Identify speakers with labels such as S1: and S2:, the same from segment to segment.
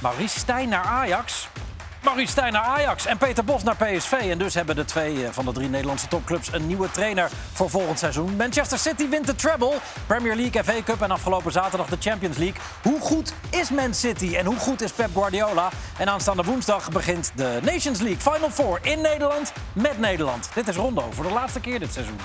S1: Maurice Stijn naar Ajax. Maurice Stijn naar Ajax en Peter Bos naar PSV. En dus hebben de twee eh, van de drie Nederlandse topclubs een nieuwe trainer voor volgend seizoen. Manchester City wint de treble, Premier League, FA Cup en afgelopen zaterdag de Champions League. Hoe goed is Man City en hoe goed is Pep Guardiola? En aanstaande woensdag begint de Nations League Final Four in Nederland met Nederland. Dit is Rondo voor de laatste keer dit seizoen.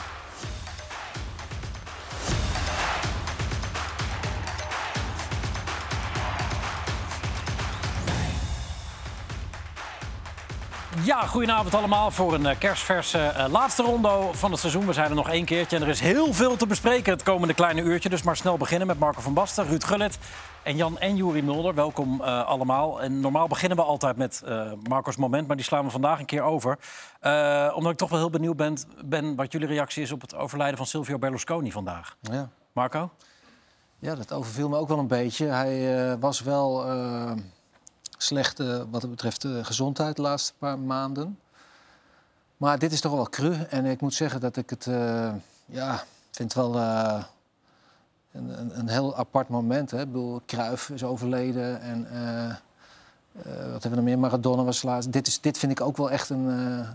S1: Ja, goedenavond allemaal voor een eh, kerstverse eh, laatste rondo van het seizoen. We zijn er nog één keertje en er is heel veel te bespreken het komende kleine uurtje. Dus maar snel beginnen met Marco van Basten, Ruud Gullit en Jan en Juri Mulder. Welkom eh, allemaal. En normaal beginnen we altijd met eh, Marco's moment, maar die slaan we vandaag een keer over. Eh, omdat ik toch wel heel benieuwd ben, ben wat jullie reactie is op het overlijden van Silvio Berlusconi vandaag.
S2: Ja.
S1: Marco?
S2: ja, dat overviel me ook wel een beetje. Hij eh, was wel eh, slecht eh, wat het betreft eh, gezondheid de laatste paar maanden. Maar dit is toch wel cru. En ik moet zeggen dat ik het... eh, ja, vind wel eh, een, een, een heel apart moment. Hè? Ik bedoel, Cruijff is overleden en... eh, eh, wat hebben we nog meer? Maradona was laatst. Dit, is, dit vind ik ook wel echt een,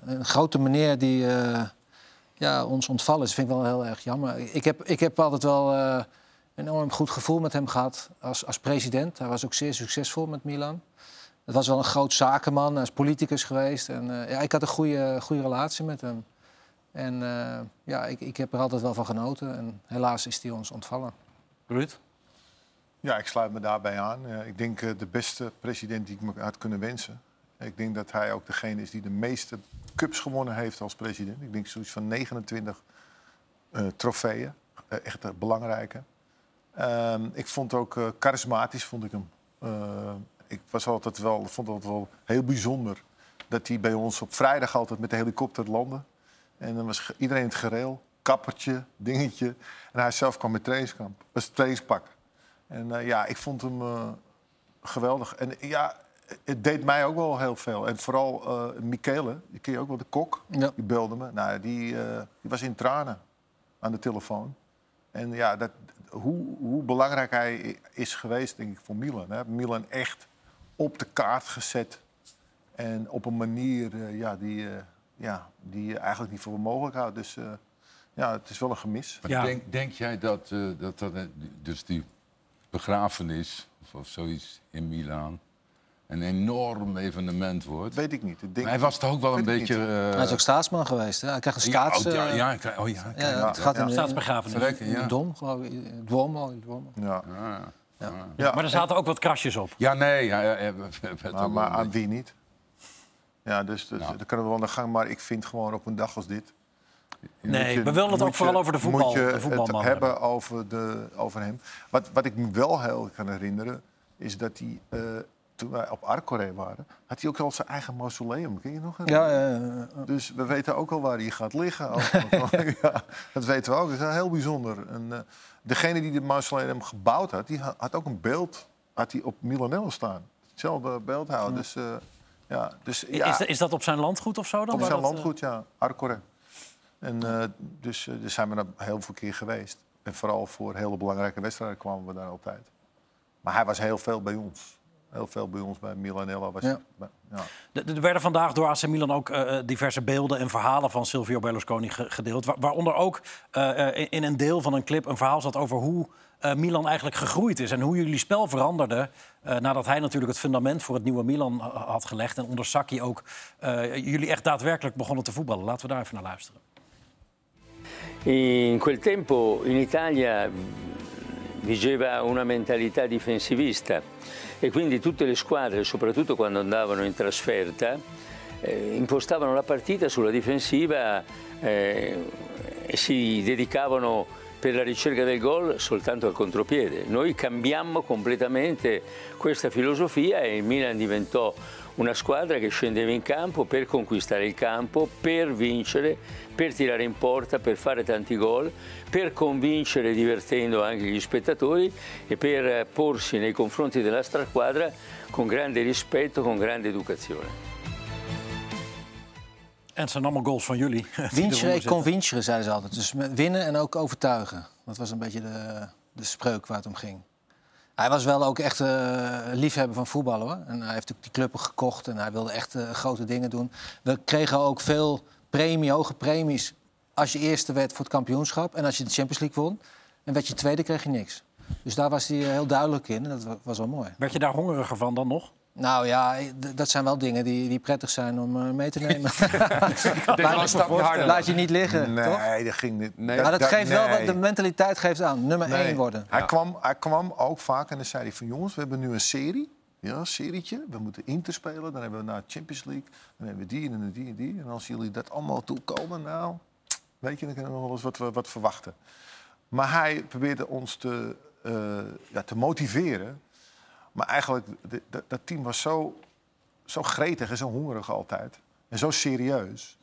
S2: eh, een grote meneer die eh, ja, ons ontvallen is. vind ik wel heel erg jammer. Ik heb, ik heb altijd wel eh, een enorm goed gevoel met hem gehad als, als president. Hij was ook zeer succesvol met Milan. Het was wel een groot zakenman, hij is politicus geweest. En, eh, ja, ik had een goede, goede relatie met hem. En eh, ja, ik, ik heb er altijd wel van genoten. En helaas is hij ons ontvallen.
S1: Ruud?
S3: Ja, ik sluit me daarbij aan. Eh, ik denk eh, de beste president die ik me had kunnen wensen. Ik denk dat hij ook degene is die de meeste cups gewonnen heeft als president. Ik denk zoiets van 29 eh, trofeeën. Eh, echt een belangrijke. Ehm, ik vond ook eh, charismatisch, vond ik hem. Eh, ik was altijd wel, vond het altijd wel heel bijzonder dat hij bij ons op vrijdag altijd met de helikopter landde. En dan was ge- iedereen het gereel. Kappertje, dingetje. En hij zelf kwam met trainingskamp, was trainingspak. En eh, ja, ik vond hem eh, geweldig. En eh, ja, het deed mij ook wel heel veel. En vooral eh Michele, die ken je ook wel, de kok.
S2: Ja.
S3: Die belde me. Nou, die, eh, die was in tranen aan de telefoon. En ja, dat, hoe, hoe belangrijk hij is geweest, denk ik, voor Milan. Hè? Milan echt op de kaart gezet. En op een manier eh, ja, die, eh, ja, die je eigenlijk niet voor mogelijk houdt. Dus eh, ja, het is wel een gemis.
S1: Ja.
S4: Denk, denk jij dat, eh, dat, dat eh, dus die begrafenis of, of zoiets in Milaan een enorm evenement wordt?
S3: Dat weet ik niet. Ik denk,
S4: Maar hij was toch ook wel een
S3: Weet ik
S4: beetje... eh,
S2: hij is ook staatsman geweest. Hè? Hij kreeg een
S4: ja,
S2: staats...
S4: oh, ja,
S2: eh,
S4: ja, ik krijg- oh ja, ik
S2: ja,
S4: krijg-
S2: het gaat
S3: ja.
S2: in de-
S1: Staatsbegrafenis.
S4: verrekken,
S2: in de
S4: ja.
S2: dom, geloof ik. In het Duomo, in het Duomo.
S3: ja.
S4: Ah, ah.
S3: Ja,
S1: Maar er zaten ook wat krasjes op.
S4: Ja, nee, hij, hij- hij werd ook wel
S3: Maar,
S4: een
S3: maar aan
S4: beetje-
S3: wie niet? Ja, dus, dus
S4: Nou.
S3: dan kunnen we wel naar gang. Maar ik vind gewoon op een dag als dit...
S1: Nee,
S3: moet je-
S1: we willen het
S3: moet
S1: ook vooral
S3: je-
S1: over de voetbal,
S3: Moet je
S1: de
S3: het
S1: voetbalman
S3: hebben,
S1: hebben.
S3: Over, de, over hem. Wat, wat ik me wel heel kan herinneren, is dat hij... eh, toen wij op Arcoré waren, had hij ook al zijn eigen mausoleum. Ken je nog?
S2: Ja, eh, eh,
S3: Dus we weten ook al waar hij gaat liggen. Ook. ja, dat weten we ook. Dat is heel bijzonder. En, eh, degene die de mausoleum gebouwd had, die ha- had ook een beeld had hij op Milanello staan. Hetzelfde beeldhouwer.
S2: Hm.
S3: Dus, eh, ja, dus
S1: I-
S3: ja,
S1: Is, is dat op zijn landgoed of zo dan?
S3: op
S1: Waar
S3: zijn
S1: dat, eh,
S3: landgoed, ja. Arcore. En eh, dus eh, daar zijn we daar heel veel keer geweest. En vooral voor hele belangrijke wedstrijden kwamen we daar altijd. Maar hij was heel veel bij ons. Heel veel bij ons bij Milanello. Was
S2: Ja.
S3: hij bij- ja.
S1: De- de- Er werden vandaag door AC Milan ook eh, diverse beelden en verhalen van Silvio Berlusconi ge- gedeeld. Wa- waaronder ook eh, eh, in een deel van een clip een verhaal zat over hoe eh, Milan eigenlijk gegroeid is. En hoe jullie spel veranderde eh, nadat hij natuurlijk het fundament voor het nieuwe Milan ha- had gelegd. En onder Sacchi ook eh, jullie echt daadwerkelijk begonnen te voetballen. Laten we daar even naar luisteren.
S5: In quel tempo in Italia vigeva una mentalità difensivista e quindi tutte le squadre, soprattutto quando andavano in trasferta, eh, impostavano la partita sulla difensiva eh, e si dedicavano per la ricerca del gol soltanto al contropiede. Noi cambiammo completamente questa filosofia e il Milan diventò una squadra che scendeva in campo per conquistare il campo, per vincere, per tirare in porta, per fare tanti gol, per convincere divertendo anche gli spettatori e per eh, porsi nei confronti della straquadra con grande rispetto, con grande educazione.
S1: En het zijn allemaal goals van jullie.
S2: Winsje, ik kon winsjeren, zeiden ze altijd. Dus met winnen en ook overtuigen. Dat was een beetje de, de spreuk waar het om ging. Hij was wel ook echt eh, een liefhebber van voetballen. Hoor. En hij heeft ook die club gekocht en hij wilde echt eh, grote dingen doen. We kregen ook veel premie, hoge premies. Als je eerste werd voor het kampioenschap en als je de Champions League won. En werd je tweede, kreeg je niks. Dus daar was hij eh, heel duidelijk in en dat wa- was wel mooi.
S1: Werd je daar hongeriger van dan nog?
S2: Nou ja, d- dat zijn wel dingen die, die prettig zijn om eh, mee te nemen.
S6: wel een
S2: laat,
S6: stapje harder.
S2: laat je niet liggen, Eh, toch?
S3: Nee, dat ging niet.
S6: Nee.
S2: Maar dat geeft wel,
S3: nee.
S2: wat- de mentaliteit geeft aan. Nummer
S3: Nee.
S2: één worden.
S3: Hij, kwam, hij kwam ook vaak en dan zei hij van jongens, we hebben nu een serie. Ja, een serietje. We moeten Inter spelen. Dan hebben we naar Champions League. Dan hebben we die en dan die en die. En als jullie dat allemaal toekomen, nou, weet je, dan kunnen we nog wel eens wat, we- wat verwachten. Maar hij probeerde ons te, eh, ja, te motiveren. Maar eigenlijk, de- dat- dat team was zo, zo gretig en zo hongerig altijd. En zo serieus.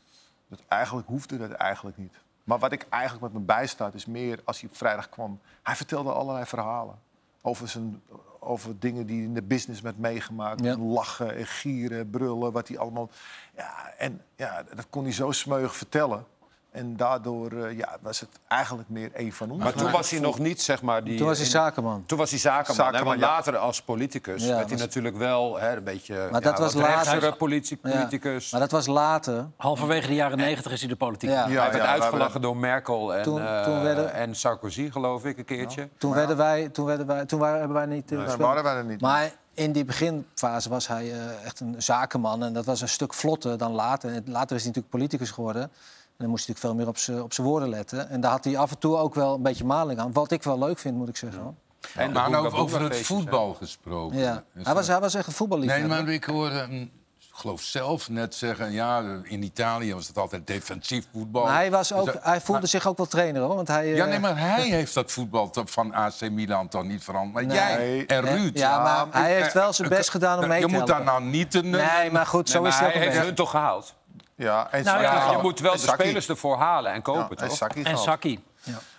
S3: Dat eigenlijk hoefde dat eigenlijk niet. Maar wat ik eigenlijk met me bijstaat is meer als hij op vrijdag kwam. Hij vertelde allerlei verhalen. Over, zijn, over dingen die hij in de business met meegemaakt.
S2: Ja.
S3: Lachen, en gieren, brullen, wat hij allemaal. Ja, en ja, dat kon hij zo smeug vertellen. En daardoor eh, ja, was het eigenlijk meer een van ons.
S6: Maar toen was hij nog niet, zeg maar... Die,
S2: Toen was hij zakenman.
S6: Toen was hij zakenman.
S3: Zakenman,
S6: hè, want
S3: ja.
S6: later als politicus
S2: Ja,
S6: werd hij
S2: was-
S6: natuurlijk wel hè, een beetje...
S2: Maar dat was later.
S6: Rechtere politie-
S2: Ja.
S6: politicus.
S2: Maar dat was later.
S1: Halverwege de jaren negentig is hij de politiek.
S2: Ja.
S6: Hij werd
S3: ja,
S6: uitgelachen door Merkel en,
S2: Toen-
S6: eh,
S2: toen werden-
S6: en Sarkozy, geloof ik, een keertje.
S2: Toen, werden wij, toen, werden wij, toen waren, hebben wij niet eh,
S3: Daar
S2: gespeeld.
S3: waren wij er niet.
S2: Maar in die beginfase was hij eh, echt een zakenman. En dat was een stuk vlotter dan later. En later is hij natuurlijk politicus geworden. En dan moest hij natuurlijk veel meer op z'n- op zijn woorden letten. En daar had hij af en toe ook wel een beetje maling aan. Wat ik wel leuk vind, moet ik zeggen. hoor.
S6: En de
S4: Maar nou
S6: Boonga
S4: over het
S6: Boonga-feestjes, hè.
S4: voetbal gesproken.
S2: Ja.
S4: Is
S2: Hij, was,
S4: dat-
S2: hij was echt een
S4: Nee,
S2: voetballiefhebber.
S4: maar ik hoorde hem, ik geloof zelf net zeggen... ja, in Italië was het altijd defensief voetbal.
S2: Maar hij, was ook,
S4: Dus dat-
S2: hij voelde zich ook wel trainer, hoor. Want hij, eh,
S4: Ja, nee, maar hij heeft dat voetbal to- van AC Milan toch niet veranderd. Maar jij
S3: Nee.
S4: en
S2: hè?
S4: Ruud... Nou, eh,
S2: Ja, maar hij heeft wel zijn best gedaan om mee
S4: Je
S2: te
S4: moet daar
S2: helpen.
S4: nou niet een...
S2: Nee, maar goed, zo
S6: Nee,
S2: is
S6: maar
S2: hij
S6: hij
S2: ook een
S6: heeft
S2: beetje.
S6: hun toch gehaald?
S3: Ja, en
S1: Nou,
S3: Saki
S1: ja,
S6: Ja,
S3: gehad.
S6: je moet wel
S3: En
S6: de
S3: Saki.
S6: spelers ervoor halen en
S3: Ja,
S6: kopen,
S3: en
S6: toch?
S3: Saki
S1: En
S3: gehad.
S1: Saki.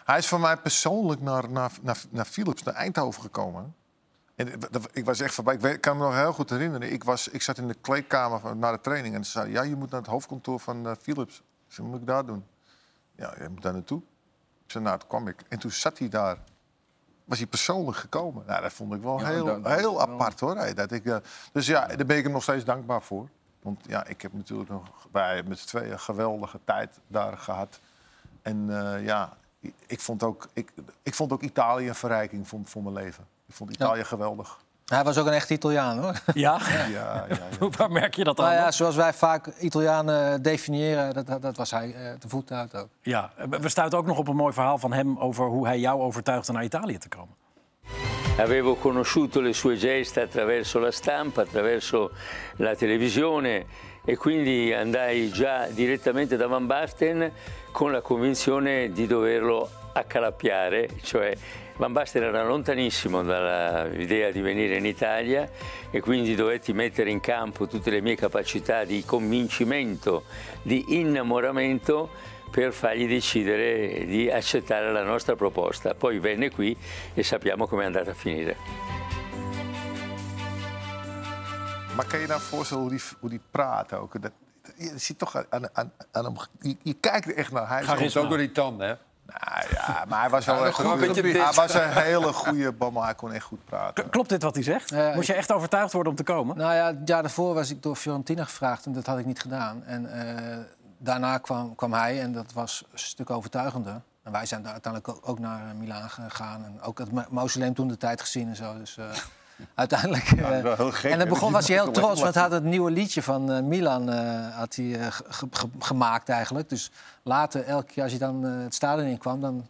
S3: Hij is voor mij persoonlijk naar, naar, naar, naar Philips, naar Eindhoven gekomen. En ik- dat- ik was echt voorbij. Ik weet- kan me nog heel goed herinneren. Ik, was, ik zat in de kleedkamer van, na de training en ze zei: Ja, je moet naar het hoofdkantoor van eh, Philips. Ik zei: Wat moet ik daar doen? Ja, je moet daar naartoe. Ik zei: Nou, toen kwam ik. En toen zat hij daar. Was hij persoonlijk gekomen? Nou, dat vond ik wel
S4: Ja,
S3: heel,
S4: dat- dat
S3: heel apart hoor. Hey, Dat ik, eh, dus ja, daar ben ik hem nog steeds dankbaar voor. Want ja, ik heb natuurlijk nog bij met z'n tweeën een geweldige tijd daar gehad. En eh, ja, ik- ik vond, ook, ik, ik vond ook Italië een verrijking voor, voor mijn leven. Ik vond Italië geweldig.
S2: Hij was ook een echt Italiaan, hoor.
S1: Ja?
S3: Ja, ja, ja.
S1: Waar merk je dat aan?
S2: Nou ja, zoals wij vaak Italianen definiëren, dat, dat, dat was hij eh, de voet uit ook.
S1: Ja, we we stuiten ook nog op een mooi verhaal van hem over hoe hij jou overtuigde naar Italië te komen.
S5: Avevo conosciuto le sue gesta attraverso la stampa, attraverso la televisione e quindi andai già direttamente da Van Basten con la convinzione di doverlo accalappiare, cioè Van Basten era lontanissimo dall'idea di venire in Italia e quindi dovetti mettere in campo tutte le mie capacità di convincimento, di innamoramento per fargli decidere di accettare la nostra proposta. Poi venne qui e sappiamo com'è andata a finire.
S3: Maar kan je je nou voorstellen hoe die, hoe die praat ook? Dat, je ziet toch aan, aan, aan hem... Je, je kijkt er echt naar. Hij is
S6: Hij komt
S1: Charisma.
S6: ook door die tanden, hè?
S3: Nou ja, maar hij was wel echt
S6: gewoon
S3: goed.
S6: een beetje
S3: Hij
S6: dit.
S3: was een hele goede bal, maar hij kon echt goed praten.
S1: K- Klopt dit wat hij zegt?
S2: Ja,
S1: Moest je echt overtuigd worden om te komen?
S2: Nou ja, het jaar daarvoor was ik door Fiorentina gevraagd en dat had ik niet gedaan. En eh, daarna kwam, kwam hij en dat was een stuk overtuigender. En wij zijn daar uiteindelijk ook, ook naar eh, Milaan gegaan en ook het ma- mausoleum toen de tijd gezien en zo. Dus eh, uiteindelijk... eh,
S3: dat is wel heel gek,
S2: en
S3: hè,
S2: het begon
S3: dat
S2: was
S3: je
S2: hij heel
S3: dat
S2: trots,
S3: alleen
S2: want hij had het nieuwe liedje van eh, Milan eh, had hij, eh, ge- ge- ge- gemaakt eigenlijk. Dus later, elke keer als hij dan eh, het stadion in kwam, dan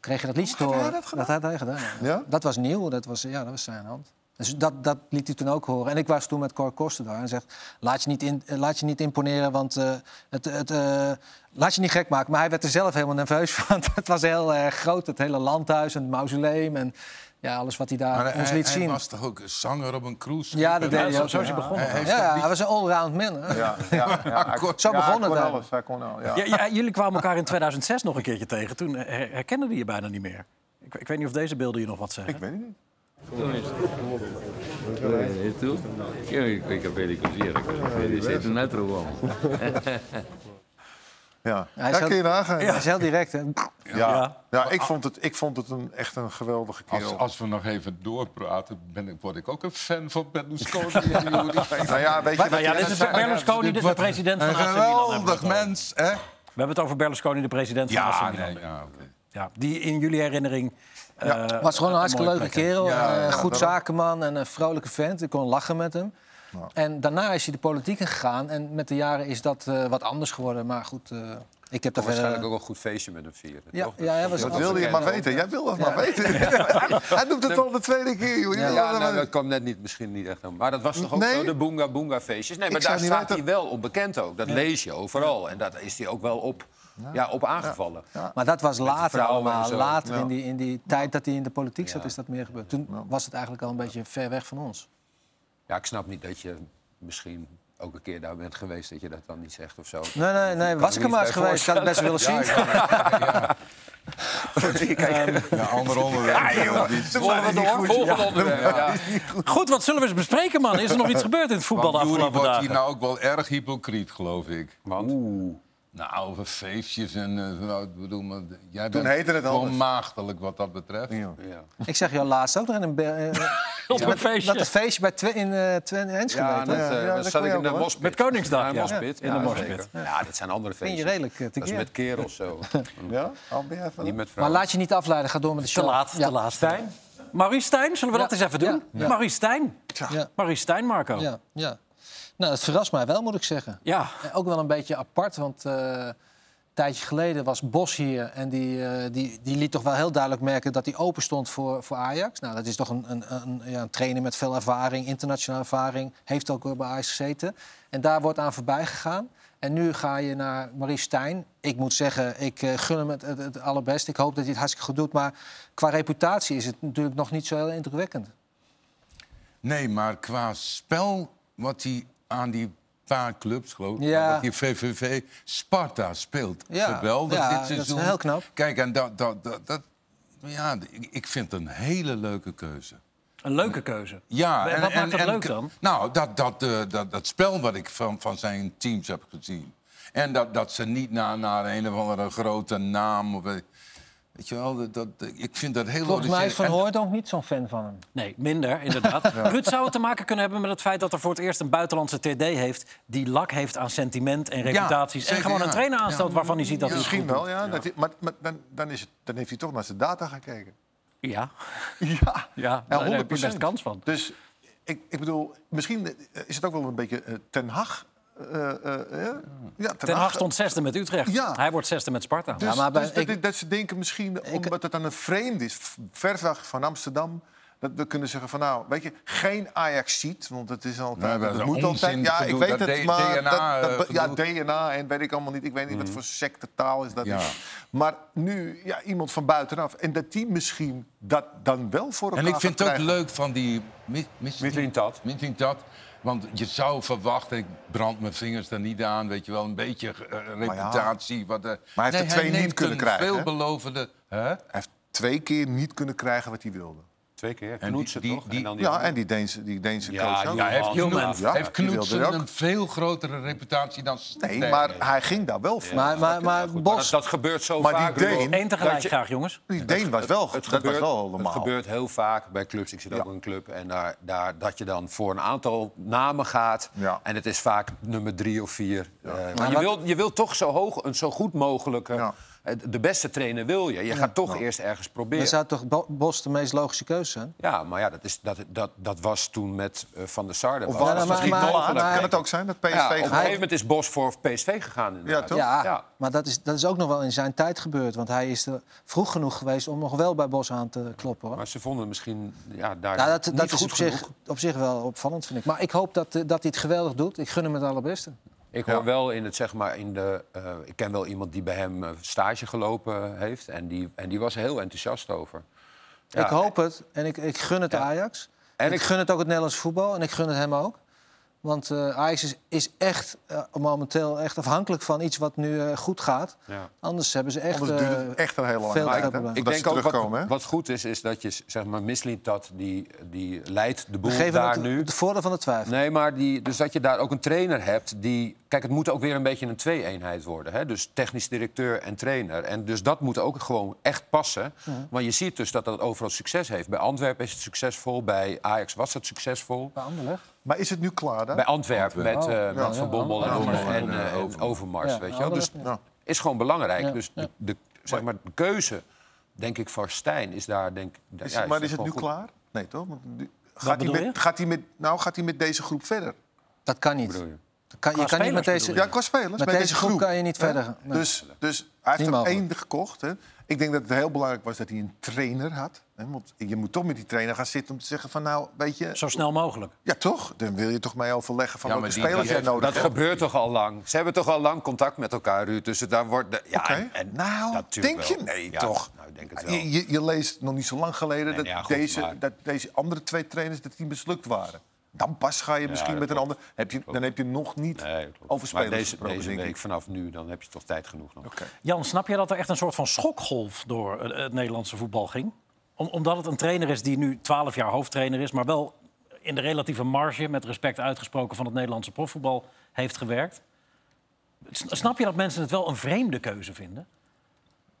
S2: kreeg je dat liedje te horen. Dat had hij gedaan. ja.
S3: Ja?
S2: Dat was nieuw, dat was, ja, dat was zijn hand. Dus dat, dat liet hij toen ook horen. En ik was toen met Cor Koster daar en zegt: laat je niet, in, eh, laat je niet imponeren, want eh, het, het, eh, laat je niet gek maken. Maar hij werd er zelf helemaal nerveus van. Het was heel erg groot, het hele landhuis en het mausoleum en ja, alles wat hij daar
S4: Maar
S2: ons
S4: hij,
S2: liet
S4: hij
S2: zien.
S4: was toch ook een zanger op een cruise?
S2: Ja, dat deed
S1: Ja,
S2: hij
S1: zo,
S2: ook.
S1: zo is hij
S2: ja.
S1: begonnen.
S4: Hij heeft
S2: Ja,
S4: dat
S2: ja,
S4: lied-
S2: hij was een allround man. hè.
S3: Ja, ja, ja, hij kon-
S2: Zo
S3: ja,
S2: begon
S3: hij kon
S2: het eigenlijk.
S3: alles. Hij kon alles, ja.
S1: Ja, ja, jullie kwamen elkaar in 2006 nog een keertje tegen. Toen eh, her- herkenden die je bijna niet meer. Ik, ik weet niet of deze beelden je nog wat zeggen.
S3: Ik weet het niet.
S7: E tu? Io con i capelli così era così, sei un altro uomo.
S3: Ja,
S2: Hij
S3: ja
S2: zou-
S3: kun je nagaan.
S2: Dat
S3: Ja.
S2: is heel direct, hè?
S1: Ja.
S3: Ja. ik vond het, ik vond het een, echt een geweldige
S4: Als,
S3: kerel.
S4: als we nog even doorpraten, ben ik, word ik ook een fan van Berlusconi. en Rudy.
S3: Nou ja, weet je,
S1: Nou
S3: wat
S1: ja,
S3: je-
S1: dit is Berlusconi, dit is de
S4: Wat
S1: president van
S4: Een
S1: AC Milan. hebben we
S4: geweldig
S1: het over.
S4: mens, hè?
S1: We hebben het over Berlusconi, de president van AC
S4: Ja,
S1: Milan.
S4: nee, ja, oké.
S1: Ja, die in jullie herinnering... eh,
S2: was gewoon een hartstikke
S1: mooie
S2: leuke
S1: plek heeft.
S2: kerel.
S3: Ja,
S2: eh,
S3: ja,
S2: goed
S3: daarom.
S2: zakenman en een vrolijke vent. Ik kon lachen met hem. En daarna is hij de politiek in gegaan. En met de jaren is dat eh, wat anders geworden. Maar goed, eh, ik heb daar verder...
S6: Waarschijnlijk ook een goed feestje met hem vieren.
S2: Ja,
S6: toch?
S2: ja, hij was
S3: dat wilde je maar weten. Jij wil dat maar weten. Hij doet het al de tweede keer. joh. Je
S6: Ja,
S3: wil dat
S6: nou,
S3: maar-
S6: dat kwam net niet, misschien niet echt aan. Maar dat was toch ook
S3: Nee.
S6: zo, de Boonga Boonga feestjes? Nee, maar
S3: zou
S6: daar
S3: niet
S6: staat
S3: weten-
S6: hij wel op bekend ook. Dat lees je overal. En daar is hij ook wel op, ja. op aangevallen.
S2: Maar dat was later
S6: vrouwen en
S2: allemaal.
S6: zo.
S2: Later in, die, in die tijd dat hij in de politiek zat, is dat meer gebeurd. Toen was het eigenlijk al een beetje ver weg van ons.
S6: Ja, ik snap niet dat je misschien ook een keer daar bent geweest... dat je dat dan niet zegt of zo.
S2: Nee, nee, nee. Was ik er
S6: me niet
S2: maar eens
S6: bij
S2: geweest, zou ik best willen zien.
S4: Ja, ander onderwerp.
S6: Volgende onderwerp. Volgende onderwerp, ja.
S1: Goed, wat zullen we eens bespreken, man? Is er nog iets gebeurd in het voetbal de
S4: Want Joeri
S1: afgelopen
S4: wordt hier
S1: dagen?
S4: nou ook wel erg hypocriet, geloof ik.
S6: Want?
S4: Nou, over feestjes en... eh, nou, ik bedoel, maar, jij bent
S3: heette het
S4: gewoon
S3: anders.
S4: maagdelijk wat dat betreft.
S3: Ja.
S6: Ja.
S2: Ik zeg jou laatst ook nog in een... be- eh,
S1: Op een feestje.
S2: Dat het feestje bij Twe- in eh Twen Enschede.
S6: Ja,
S2: toch?
S6: dat, eh,
S3: ja,
S6: dan
S3: dat
S6: zat
S3: kon
S6: ik
S3: je
S6: in de
S3: ook, hoor.
S6: mospit.
S1: Met Koningsdag,
S6: Ja, in de
S1: ja.
S6: mospit.
S1: In de
S6: Ja,
S1: mospit.
S6: zeker. Ja, dat zijn andere
S2: je
S6: feestjes.
S2: redelijk, eh,
S6: Dat is
S2: tekeer.
S6: met kerels zo.
S3: Ja? Albert, even-
S6: niet met
S2: Maar
S6: vrouwen.
S2: laat je niet afleiden, ga door met de show.
S1: Te laat,
S2: Ja.
S1: te laat. Stijn? Maurice Stijn, zullen we
S2: Ja,
S1: dat eens even doen?
S2: ja, ja.
S1: Maurice Stijn.
S2: Ja.
S1: Maurice Stijn, Marco.
S2: Ja, ja. Nou, dat verrast mij wel, moet ik zeggen.
S1: Ja.
S2: Eh, Ook wel een beetje apart, want eh, een tijdje geleden was Bos hier... en die, eh, die, die liet toch wel heel duidelijk merken dat hij open stond voor, voor Ajax. Nou, dat is toch een, een, een, ja, een trainer met veel ervaring, internationale ervaring. Heeft ook eh, bij Ajax gezeten. En daar wordt aan voorbij gegaan. En nu ga je naar Maurice Stijn. Ik moet zeggen, ik eh, gun hem het, het, het allerbeste. Ik hoop dat hij het hartstikke goed doet. Maar qua reputatie is het natuurlijk nog niet zo heel indrukwekkend.
S4: Nee, maar qua spel wat hij aan die paar clubs, geloof ik,
S2: Ja.
S4: wat die VVV Sparta speelt.
S2: Ja,
S4: Geweldig
S2: ja,
S4: dit
S2: dat is
S4: seizoen.
S2: heel knap.
S4: Kijk, en dat, dat, dat, dat- ja, ik- ik vind het een hele leuke keuze.
S1: Een leuke keuze.
S4: Ja,
S1: En wat maakt dat leuk dan?
S4: Nou, dat, dat, eh, dat, dat spel wat ik van, van zijn teams heb gezien. En dat, dat ze niet naar, naar een of andere grote naam. Of, eh, weet je wel, dat, dat, ik vind dat heel
S2: Volgens mij is Van
S4: origineel.
S2: Hooydonk niet zo'n fan van hem.
S1: Nee, minder, inderdaad. Ruud zou het te maken kunnen hebben met het feit dat er voor het eerst een buitenlandse TD heeft... die lak heeft aan sentiment en reputaties. en
S4: zeker,
S1: gewoon een
S4: ja.
S1: trainer aanstelt waarvan hij ziet dat hij het
S3: Misschien
S1: goed doet.
S3: wel, ja. Dat hij- maar maar dan, dan, is het, dan heeft hij toch naar zijn data gekeken.
S1: Ja,
S3: Ja,
S1: ja,
S3: Ja,
S1: daar heb je
S3: 100%.
S1: best kans van.
S3: Dus ik, ik bedoel, misschien eh, is het ook wel een beetje eh, Ten Hag. eh, eh, eh, ja,
S1: Ten Hag stond zesde met Utrecht.
S3: Ja.
S1: Hij wordt zesde met Sparta.
S3: Dus,
S2: Ja, maar bij-
S3: dus dat-
S2: ik-
S3: dat ze denken misschien, omdat het dan een vreemd is, v- ver weg van Amsterdam... dat we kunnen zeggen van nou, weet je, geen ajax ziet want het is altijd,
S4: Nee, maar
S3: het
S4: dat
S3: moet altijd.
S4: onzin
S3: Ja, ik
S4: gedoe,
S3: weet
S4: dat
S3: het,
S4: D- eh,
S3: maar
S4: DNA
S3: dat, dat, ja,
S4: gedoe.
S3: DNA en weet ik allemaal niet. Ik weet niet wat voor sectetaal is dat.
S4: Mm. Ja.
S3: Is. Maar nu, ja, iemand van buitenaf. En dat die misschien dat dan wel voor elkaar
S4: En ik vind
S3: gaat
S4: het ook
S3: krijgen.
S4: leuk van die Mi- Mis-
S6: Mislintat.
S4: Mislintat. Want je zou verwachten, ik brand mijn vingers er niet aan, weet je wel, een beetje eh, reputatie. wat, eh,
S3: hij heeft er twee niet
S4: neemt
S3: kunnen
S4: een
S3: krijgen, hè?
S4: Veelbelovende. Hè?
S3: Hij heeft twee keer niet kunnen krijgen wat hij wilde.
S6: Twee keer
S4: die-
S6: knoetsen,
S4: die-
S6: toch?
S4: die-
S6: dan
S3: Ja, en die Deense, die Deense
S6: Ja,
S3: coach
S6: die-
S3: ook.
S4: Ja, heeft
S6: Johan
S4: Knoet,
S3: Ja,
S6: Johan.
S4: heeft
S3: die wilde
S4: Knoetsen
S3: er ook.
S4: een veel grotere reputatie dan
S3: Nee,
S4: Sterk.
S3: maar hij ging daar wel voor.
S2: Maar, maar, maar
S6: Maar
S2: Bos,
S6: dat, dat gebeurt zo
S3: Maar die
S6: vaak.
S3: Deen-
S6: Roel.
S1: Eén tegelijk
S6: Dat je-
S1: graag, jongens.
S3: die Deen was wel,
S6: Het
S3: dat was
S6: gebeurt,
S3: wel
S6: het
S3: normaal.
S6: gebeurt heel vaak bij clubs. Ik zit ook
S3: Ja.
S6: in een club. En daar, daar, dat je dan voor een aantal namen gaat.
S3: Ja.
S6: En het is vaak nummer drie of vier. Eh, maar je
S2: wat-
S6: wilt, je wilt toch zo hoog, een zo goed mogelijke...
S3: Ja.
S6: eh, De beste trainer wil je. Je gaat toch eerst ergens
S2: dan
S6: proberen.
S2: zou toch Bo- Bos de meest logische keuze zijn?
S6: Ja, maar ja, dat, is, dat, dat, dat was toen met eh, Van der Sar.
S3: Of was
S6: was
S2: Ja, nou,
S6: dat
S3: het
S2: maar-
S3: misschien
S2: maar-
S3: te laat?
S2: maar-
S3: kan het ook zijn dat PSV
S6: Ja, op een
S3: gewoon-
S6: gegeven moment is Bos voor PSV gegaan. inderdaad.
S3: toch?
S2: Ja,
S6: Ja.
S2: maar dat is, dat is ook nog wel in zijn tijd gebeurd. Want hij is er vroeg genoeg geweest om nog wel bij Bos aan te kloppen. Hoor.
S6: Maar ze vonden misschien ja, daar
S2: Nou, dat
S6: niet
S2: dat is
S6: goed
S2: op zich,
S6: genoeg.
S2: op zich wel opvallend, vind ik. Maar ik hoop dat, eh, dat hij het geweldig doet. Ik gun hem het allerbeste.
S6: Ik hoor wel in het, zeg maar, in de... eh, ik ken wel iemand die bij hem eh, stage gelopen heeft. En die, en die was er heel enthousiast over. Ja,
S2: ik hoop het en ik, ik gun het de Ajax.
S6: En
S2: En ik
S6: ik-
S2: gun het ook het Nederlands voetbal en ik gun het hem ook. Want eh Ajax is, is echt eh, momenteel echt afhankelijk van iets wat nu eh, goed gaat.
S6: Ja.
S2: Anders hebben ze echt...
S3: Anders duurt het
S2: eh,
S3: echt een hele lange
S2: veel
S3: tijd,
S2: groter
S3: hè?
S2: belang.
S3: Dat ze terugkomen, hè?
S6: wat, wat goed is, is dat je zeg maar, Mislintat, die, die leidt de boel
S2: We geven
S6: daar
S2: het
S6: nu.
S2: het voordeel van de twijfel.
S6: Nee, maar die, dus dat je daar ook een trainer hebt die... Kijk, het moet ook weer een beetje een twee-eenheid worden. Hè? Dus technisch directeur en trainer. En dus dat moet ook gewoon echt passen. Want je ziet dus dat dat overal succes heeft. Bij Antwerpen is het succesvol, bij Ajax was het succesvol.
S3: Maar is het nu klaar dan?
S6: Bij Antwerpen met,
S3: Oh,
S6: eh, met Van Bommel en,
S4: Anderlecht.
S6: en, eh, en
S4: Overmars.
S6: Overmars,
S2: Ja,
S6: weet je wel. Dus
S2: Nou,
S3: Ja.
S6: is gewoon belangrijk. Dus de, de, zeg maar, de keuze, denk ik, van Stijn is daar... Denk, ik.
S3: Is het- maar is het nu klaar? Nee, toch? Want nu- Gaat hij,
S1: bedoel
S3: met,
S1: je?
S3: gaat, hij met, nou, gaat hij met deze groep verder?
S2: Dat kan niet.
S6: bedoel je?
S2: Dat kan, je
S1: Qua
S2: kan niet met
S1: spelers
S2: deze...
S1: bedoel
S3: Ja, qua spelers.
S2: Met deze groep kan je niet
S3: hè?
S2: verder gaan. Nee.
S3: Dus, dus hij heeft
S2: Niet
S3: er
S2: mogelijk.
S3: één gekocht. Hè? Ik denk dat het heel belangrijk was dat hij een trainer had. Hè? Want je moet toch met die trainer gaan zitten om te zeggen van... nou, weet je...
S1: Zo snel mogelijk.
S3: Ja, toch? Dan wil je toch mee overleggen van
S4: Ja,
S3: welke
S4: maar die-
S3: spelers
S4: die
S3: jij
S4: heeft-
S3: nodig
S6: Dat
S3: hebt.
S6: gebeurt toch al lang? Ze hebben toch al lang contact met elkaar, Ruud? Dus daar wordt... de- ja,
S3: Oké.
S6: en, en
S3: nou,
S6: natuurlijk
S3: denk je?
S6: wel.
S3: Nee,
S6: Ja,
S3: toch?
S6: Nou, ik denk het wel.
S3: Je, je, je leest nog niet zo lang geleden dat,
S6: nee, ja, goed,
S3: deze,
S6: maar-
S3: dat deze andere twee trainers dat die mislukt waren. Dan pas ga je misschien
S6: dat
S3: met een
S6: klopt.
S3: ander... Heb je, dan heb je nog niet
S6: Nee, klopt.
S3: over spelers
S6: maar deze,
S3: gesproken,
S6: deze
S3: denk
S6: week
S3: ik.
S6: vanaf nu, dan heb je toch tijd genoeg nog.
S3: Oké.
S1: Jan, snap je dat er echt een soort van schokgolf door het, het Nederlandse voetbal ging? Om- omdat het een trainer is die nu 12 jaar hoofdtrainer is, maar wel in de relatieve marge, met respect uitgesproken van het Nederlandse profvoetbal, heeft gewerkt. S- Snap je dat mensen het wel een vreemde keuze vinden?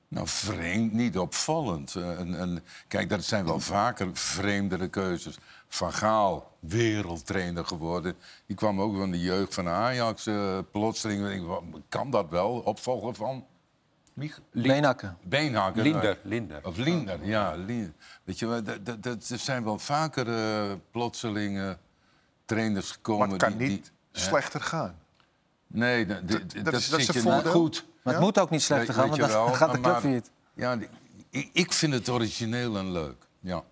S4: Nou, vreemd, niet opvallend. Eh, en, en, kijk, dat zijn wel vaker vreemdere keuzes. Van Gaal, wereldtrainer geworden. Die kwam ook van de jeugd van Ajax. eh, plotseling, Ik denk, wat- kan dat wel? Opvolger van wie?
S2: Beenhakken.
S4: Beenhakker.
S6: Linder, Linder.
S4: Of Linder, ja. Linder. Weet je, wel, dat, dat, dat er zijn wel vaker eh, plotseling eh, trainers gekomen.
S3: Maar het kan
S4: die- die-
S3: niet slechter gaan.
S4: nee, dat, dat,
S3: dat
S4: dat
S3: is- dat is
S4: zit
S3: een
S4: je niet
S3: voordeel.
S4: goed.
S2: Maar het
S3: Ja?
S2: moet ook niet slechter
S4: Weet-
S2: gaan,
S4: weet
S2: want
S4: je
S2: dan
S4: wel,
S2: gaat de club
S4: maar-
S2: failliet.
S4: Ja, die- ik, ik vind het origineel en leuk. Ja.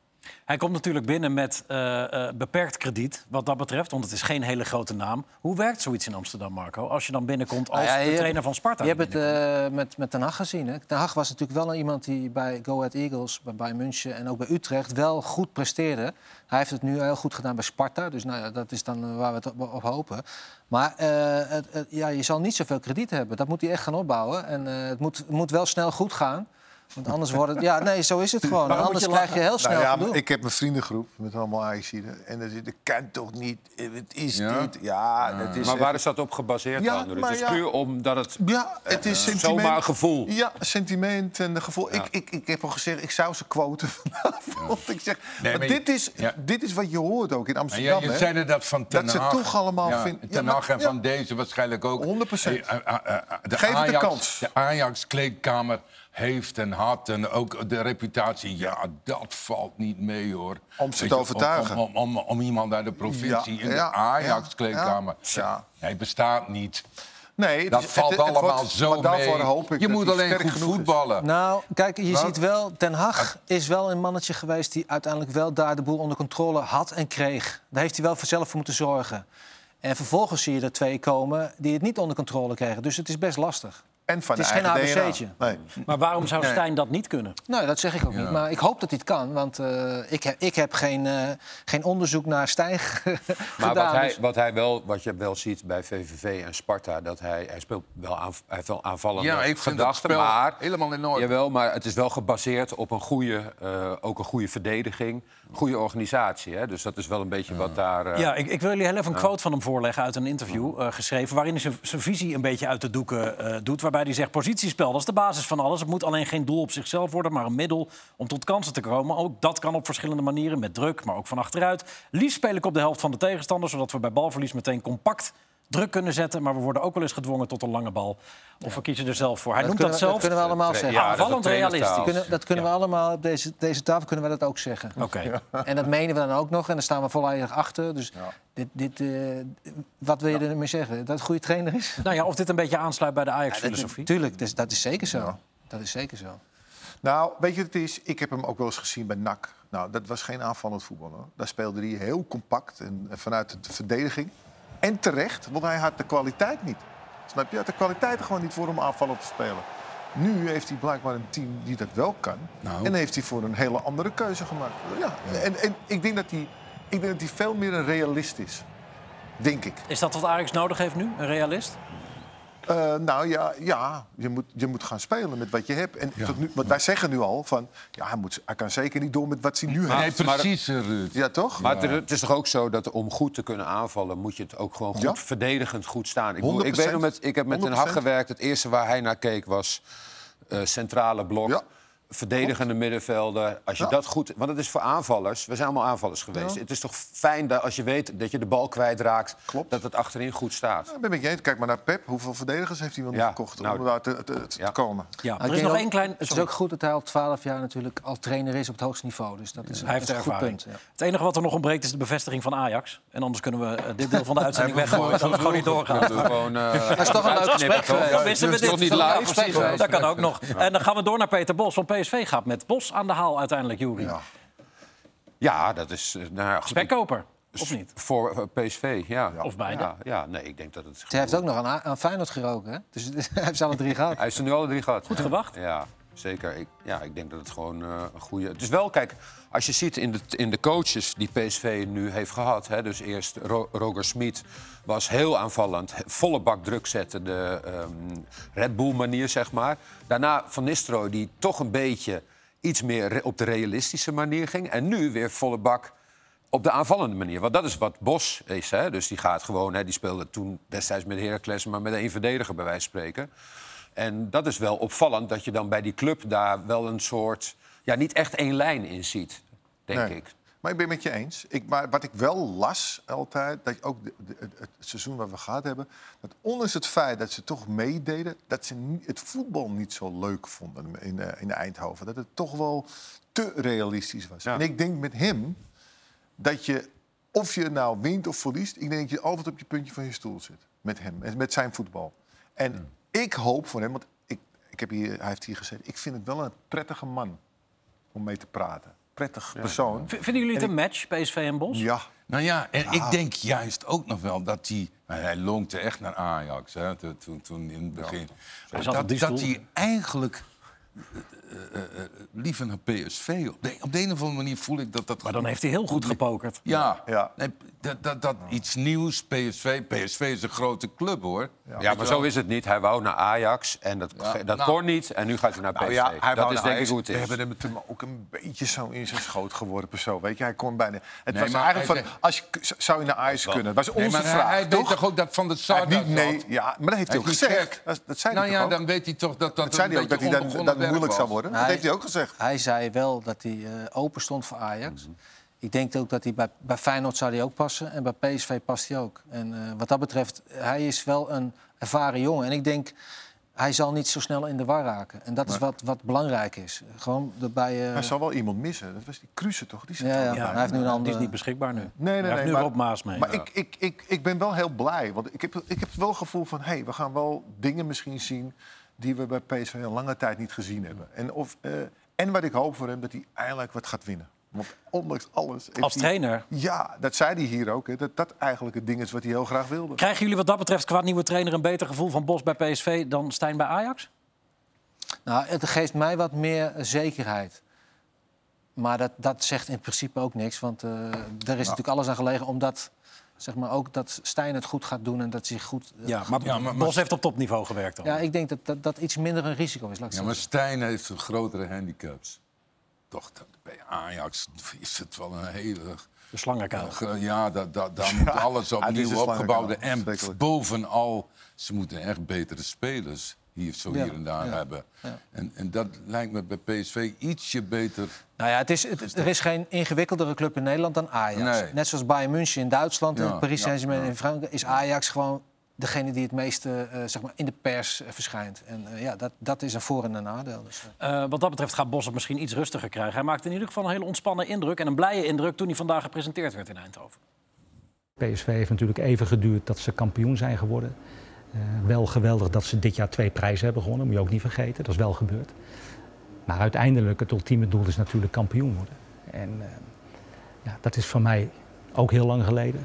S1: Hij komt natuurlijk binnen met eh, eh, beperkt krediet, wat dat betreft, want het is geen hele grote naam. Hoe werkt zoiets in Amsterdam, Marco, als je dan binnenkomt als
S2: Nou ja,
S1: de
S2: je-
S1: trainer van Sparta?
S2: Je hebt het eh, met, met Den Hag gezien. Hè? Den Hag was natuurlijk wel iemand die bij Go Ahead Eagles, bij Bayern München en ook bij Utrecht wel goed presteerde. Hij heeft het nu heel goed gedaan bij Sparta, dus nou ja, dat is dan eh, waar we het op, op hopen. Maar eh, het- het- ja, je zal niet zoveel krediet hebben. Dat moet hij echt gaan opbouwen. En eh, het moet, moet wel snel goed gaan. Want anders wordt het... Ja, nee, zo is het gewoon.
S1: Waarom
S2: Anders
S1: moet je
S2: krijg je heel snel
S3: Nou ja,
S2: gedoe.
S3: maar ik heb een vriendengroep met allemaal Ajaxiden. En dan zit ik kan toch niet, eh, het is
S4: Ja?
S3: dit. Ja, dat is
S6: Maar
S3: echt-
S6: waar is dat op gebaseerd
S3: Ja,
S6: dan, Ruud?
S3: maar
S6: Het is
S3: ja.
S6: puur omdat het...
S3: Ja, het is
S6: Eh,
S3: sentiment.
S6: zomaar gevoel.
S3: Ja, sentiment en gevoel. Ik, ik, ik heb al gezegd, ik zou ze quoten vanavond. Ik zeg,
S4: Nee,
S3: maar
S4: maar je-
S3: dit, is,
S4: ja.
S3: dit is wat je hoort ook in
S4: En jij
S3: Amsterdam.
S4: je
S3: hè?
S4: zei er dat van Ten
S3: Dat ze
S4: Hag.
S3: toch allemaal
S4: ja,
S3: vinden- ja,
S4: Ten
S3: maar-
S4: Hag en
S3: ja.
S4: van deze waarschijnlijk ook.
S3: 100%.
S4: Eh, eh, eh, eh, de
S3: Geef het de
S4: Ajax-
S3: kans.
S4: De Ajax-kleedkamer heeft en had en ook de reputatie. Ja, dat valt niet mee, hoor.
S3: Om ze
S4: Weet
S3: te
S4: je,
S3: overtuigen.
S4: Om, om, om- om iemand uit de provincie
S3: Ja,
S4: in de
S3: ja,
S4: Ajax-kleedkamer.
S3: ja, ja.
S4: Hij bestaat niet.
S3: nee, het
S4: Dat
S3: is-
S4: valt
S3: het- het
S4: allemaal
S3: wordt-
S4: zo
S3: maar daarvoor
S4: mee.
S3: hoop ik
S4: je
S3: dat
S4: moet
S3: hij
S4: alleen
S3: sterk
S4: goed
S3: genoeg is.
S4: voetballen.
S2: Nou, kijk, je ziet wel, Den Haag is wel een mannetje geweest die uiteindelijk wel daar de boel onder controle had en kreeg. Daar heeft hij wel voor zelf voor moeten zorgen. En vervolgens zie je er twee komen die het niet onder controle kregen. Dus het is best lastig.
S3: En van
S2: Het is
S3: de eigen
S2: geen
S3: DNA.
S2: ABC'tje.
S3: Nee.
S1: Maar waarom zou Stijn dat niet kunnen?
S2: Nou, dat zeg ik ook niet. Maar ik hoop dat hij het kan. Want eh, ik, heb, ik heb geen, eh, geen onderzoek naar Stijn
S6: Maar
S2: gedaan.
S6: wat hij,
S2: dus-
S6: wat, hij wel, wat je wel ziet bij VVV en Sparta, dat hij, hij speelt wel aan, hij heeft wel aanvallende
S4: Ja, ik vind dat
S6: gedachten,
S4: spel
S6: maar
S4: helemaal in orde.
S6: Jawel, maar het is wel gebaseerd op een goede, eh, ook een goede verdediging, goede organisatie. Hè? Dus dat is wel een beetje
S4: Mm.
S6: wat daar. eh,
S1: Ja, ik, ik wil jullie heel even een quote van hem voorleggen uit een interview
S2: Mhm.
S1: eh, geschreven. waarin hij zijn- zijn visie een beetje uit de doeken eh, doet. Waarbij hij zegt: positiespel, dat is de basis van alles. Het moet alleen geen doel op zichzelf worden, maar een middel om tot kansen te komen. Ook dat kan op verschillende manieren, met druk, maar ook van achteruit. Liefst speel ik op de helft van de tegenstander, zodat we bij balverlies meteen compact druk kunnen zetten. Maar we worden ook wel eens gedwongen tot een lange bal. Of we kiezen er zelf voor. Hij noemt
S2: kunnen
S1: dat
S2: we-
S1: zelf.
S2: kunnen we allemaal
S6: tra-
S2: zeggen.
S6: ja, dat is
S1: Aanvallend
S6: op trainerstaal.
S1: realistisch.
S2: Kunnen, dat kunnen we allemaal op deze, deze tafel kunnen we dat ook zeggen.
S1: Oké.
S2: En dat menen we dan ook nog. En daar staan we volledig achter. Dus dit, dit, eh, wat wil je ermee zeggen? Dat het een goede trainer is?
S1: Nou ja, of dit een beetje aansluit bij de
S2: Tuurlijk,
S1: Ajax-filosofie.
S2: Tuurlijk, dat is, dat is zeker zo. Dat is zeker zo.
S3: Nou, weet je wat het is? Ik heb hem ook wel eens gezien bij NAC. Nou, dat was geen aanvallend voetbal. Hoor. Daar speelde hij heel compact en en vanuit de verdediging. En terecht, want hij had de kwaliteit niet. Snap je? Hij had de kwaliteit er gewoon niet voor om aanvallend te spelen. Nu heeft hij blijkbaar een team die dat wel kan.
S4: Nou.
S3: En heeft hij voor een hele andere keuze gemaakt. Ja, en, en ik, denk dat hij, ik denk dat hij veel meer een realist is. denk ik.
S1: Is dat wat Ajax nodig heeft nu? Een realist?
S3: Eh, nou ja, ja je, moet, je moet gaan spelen met wat je hebt. En tot nu, want wij zeggen nu al van... Ja, hij, moet, hij kan zeker niet door met wat hij nu
S4: Nee,
S3: heeft.
S4: precies, eh, Ruud.
S3: Ja, toch?
S6: Maar het, het is toch ook zo dat om goed te kunnen aanvallen... moet je het ook gewoon goed,
S3: Ja.
S6: verdedigend goed staan. Ik, bedoel, ik,
S3: 100%.
S6: weet nog met, ik heb met Den Hag
S3: 100%.
S6: gewerkt. Het eerste waar hij naar keek was eh, centrale blok.
S3: Ja.
S6: Verdedigende middenvelden. Als je
S3: Ja.
S6: dat goed... Want het is voor aanvallers. We zijn allemaal aanvallers geweest. Het is toch fijn dat als je weet dat je de bal kwijtraakt...
S3: Klopt.
S6: dat het achterin goed staat.
S3: Ik ben met je eens. Kijk maar naar Pep. Hoeveel verdedigers heeft hij wel niet
S6: Ja,
S3: verkocht
S6: nou,
S3: om daar te, te- te
S6: ja.
S3: komen?
S1: Ja,
S2: Maar
S1: er
S2: ik
S1: is
S2: denk
S1: nog
S2: ook-
S1: één klein...
S2: Het is
S1: sorry.
S2: ook goed dat hij al 12 jaar natuurlijk al trainer is op het hoogste niveau. Dus dat is,
S1: Hij heeft
S2: een goed
S1: ervaring.
S2: punt. ja.
S1: Het enige wat er nog ontbreekt is de bevestiging van Ajax. En anders kunnen we eh, dit deel van de uitzending
S4: Hebben we
S1: weggooien. Dat het gewoon niet doorgaat.
S6: Dat we gewoon, eh,
S2: is toch een leuk
S6: uitknippen,
S2: gesprek
S6: toch?
S2: geweest.
S1: Dan missen we
S6: Dat
S1: dit.
S6: is toch niet
S2: Ja,
S6: live?
S2: precies.
S1: precies. dat kan ook nog. En dan gaan we door naar Peter Bos. Want PSV gaat met Bos aan de haal uiteindelijk, Jury.
S3: Ja.
S6: Ja, dat is... eh, Nou, ja, goed,
S1: Spekkoper, of niet?
S6: Voor eh, PSV, ja.
S1: Of beide.
S6: Ja, ja, nee, ik denk dat het...
S2: Hij heeft ook nog aan, aan Feyenoord geroken. Hè? Dus hij heeft ze alle drie gehad.
S6: Hij is er nu alle drie gehad. Goed
S1: gewacht.
S6: Ja, zeker. Ik, ja, ik denk dat het gewoon eh, een goede... Het is wel, kijk, als je ziet in de, in de coaches die PSV nu heeft gehad... Hè, dus eerst Ro- Roger Smit was heel aanvallend. he- Volle bak druk zetten, de ehm, Red Bull-manier, zeg maar. Daarna Van Nistelrooy, die toch een beetje iets meer re- op de realistische manier ging. En nu weer volle bak op de aanvallende manier. Want dat is wat Bos is. Hè? Dus die gaat gewoon, hè, die speelde toen destijds met Heracles... maar met één verdediger bij wijze van spreken. En dat is wel opvallend dat je dan bij die club daar wel een soort... ja, niet echt één lijn in ziet, denk
S3: Nee.
S6: ik.
S3: Maar ik ben met je eens. Ik, maar wat ik wel las altijd, dat ook de- de- het, het seizoen wat we gehad hebben... dat ondanks het feit dat ze toch meededen... dat ze ni- het voetbal niet zo leuk vonden in, eh, in Eindhoven. Dat het toch wel te realistisch was.
S6: Ja.
S3: En ik denk met hem dat je, of je nou wint of verliest... ik denk dat je altijd op je puntje van je stoel zit met hem, en met zijn voetbal. En ik hoop voor hem, want ik, ik heb hier, hij heeft hier gezeten... ik vind het wel een prettige man om mee te praten. Prettig persoon.
S1: V- Vinden jullie het een match, PSV en Bos?
S3: Ja,
S4: Nou ja, en
S3: Ah.
S4: ik denk juist ook nog wel dat hij... maar Hij longte echt naar Ajax, hè, toen, toen, toen in het begin. Maar
S1: zat op die
S4: dat, dat
S1: stoel.
S4: hij eigenlijk eh, eh, eh, liever naar PSV... Op de, op de een of andere manier voel ik dat dat...
S1: Maar dan heeft hij heel goed gepokerd.
S4: Ja,
S3: Ja.
S4: Nee, dat, dat, dat iets nieuws, PSV. PSV is een grote club, hoor.
S6: Ja, maar zo is het niet. Hij wou naar Ajax en dat,
S4: Ja,
S6: dat
S4: nou.
S6: kon niet. En nu gaat hij naar PSV.
S3: Nou ja, hij
S6: dat
S3: wou
S6: is
S3: naar
S6: denk ik
S3: Ajax.
S6: hoe het
S3: We
S6: is.
S3: hebben hem toen ook een beetje zo in zijn schoot geworpen. Zo, weet je, hij kon bijna. Het
S4: Nee,
S3: was
S4: maar
S3: eigenlijk
S4: hij
S3: van, als je, k- zou je naar Ajax kunnen? Dat was onze
S4: Nee, maar hij-
S3: vraag,
S4: hij
S3: toch?
S4: weet toch ook dat Van der
S3: Hij
S4: Sar
S3: heeft niet,
S4: daar
S3: nee,
S4: zat?
S3: ja, maar dat heeft hij ook
S4: Hij heeft niet
S3: gezegd.
S4: gek.
S3: Dat, dat zei
S4: Nou
S3: hij toch
S4: ja,
S3: ook?
S4: dan weet hij toch dat dat,
S3: dat zei
S4: een
S3: hij ook, dat
S4: beetje
S3: hij dan, dat
S4: onbegonnen
S3: het
S4: werk
S3: moeilijk zou
S4: was.
S3: worden. Dat heeft hij ook gezegd.
S2: Hij zei wel dat hij eh, open stond voor Ajax. Ik denk ook dat hij bij, bij Feyenoord zou hij ook passen. En bij PSV past hij ook. En eh, wat dat betreft, hij is wel een ervaren jongen. En ik denk, hij zal niet zo snel in de war raken. En dat is wat, wat belangrijk is. Gewoon erbij... eh
S3: Hij zal wel iemand missen. Dat was die Kruse, toch? Die zit
S2: Ja,
S3: er
S2: ja.
S3: ook bij.
S2: hij heeft nu een
S1: Die is
S2: andere-
S1: niet beschikbaar nu.
S3: Nee, nee,
S1: Hij heeft
S3: nee,
S1: nu
S3: maar-
S1: Rob Maas mee.
S3: Maar ik, ik, ik, ik ben wel heel blij. Want ik heb, ik heb wel het gevoel van... hé, hey, we gaan wel dingen misschien zien... die we bij PSV een lange tijd niet gezien hebben. En, of, eh, en wat ik hoop voor hem, dat hij eindelijk wat gaat winnen. Want ondanks alles... heeft
S1: Als
S3: hij-
S1: trainer.
S3: Ja, dat zei hij hier ook. Hè, dat dat eigenlijk het ding is wat hij heel graag wilde.
S1: Krijgen jullie wat dat betreft qua nieuwe trainer een beter gevoel van Bos bij PSV dan Stijn bij Ajax?
S2: Nou, het geeft mij wat meer eh, zekerheid. Maar dat, dat zegt in principe ook niks. Want eh er is natuurlijk alles aan gelegen omdat... Zeg maar ook dat Stijn het goed gaat doen en dat hij zich goed... eh,
S1: Ja, maar,
S4: Ja, maar-
S1: Bos heeft op topniveau gewerkt dan.
S2: Ja, ik denk dat dat, dat iets minder een risico is. Laat ik
S4: Ja, maar Stijn heeft een grotere handicaps. Toch, dat- bij Ajax is het wel een hele...
S1: De slangenkuil.
S4: gro- Ja, da- da- daar moet
S3: het is
S4: alles
S3: een
S4: opnieuw
S3: slangenkuil.
S4: opgebouwd worden. En
S3: Verschrikkelijk.
S4: bovenal, ze moeten echt betere spelers hier zo
S2: Ja,
S4: hier en daar hebben. En, en dat lijkt me bij PSV ietsje beter.
S2: Nou ja, het is, het- er is geen ingewikkeldere club in Nederland dan Ajax.
S4: Nee.
S2: Net zoals Bayern München in Duitsland
S4: Ja,
S2: en Paris
S4: ja,
S2: Saint-Germain in Frankrijk... is Ajax gewoon degene die het meeste eh, zeg maar in de pers eh, verschijnt. En eh, ja, dat, dat is een voor- en een nadeel. Dus, eh.
S1: Eh, wat dat betreft gaat Bos het misschien iets rustiger krijgen. Hij maakte in ieder geval een hele ontspannen indruk en een blije indruk toen hij vandaag gepresenteerd werd in Eindhoven.
S7: PSV heeft natuurlijk even geduurd dat ze kampioen zijn geworden. Eh, wel geweldig dat ze dit jaar twee prijzen hebben gewonnen, moet je ook niet vergeten. Dat is wel gebeurd. Maar uiteindelijk, het ultieme doel is natuurlijk kampioen worden. En eh, ja, dat is voor mij ook heel lang geleden.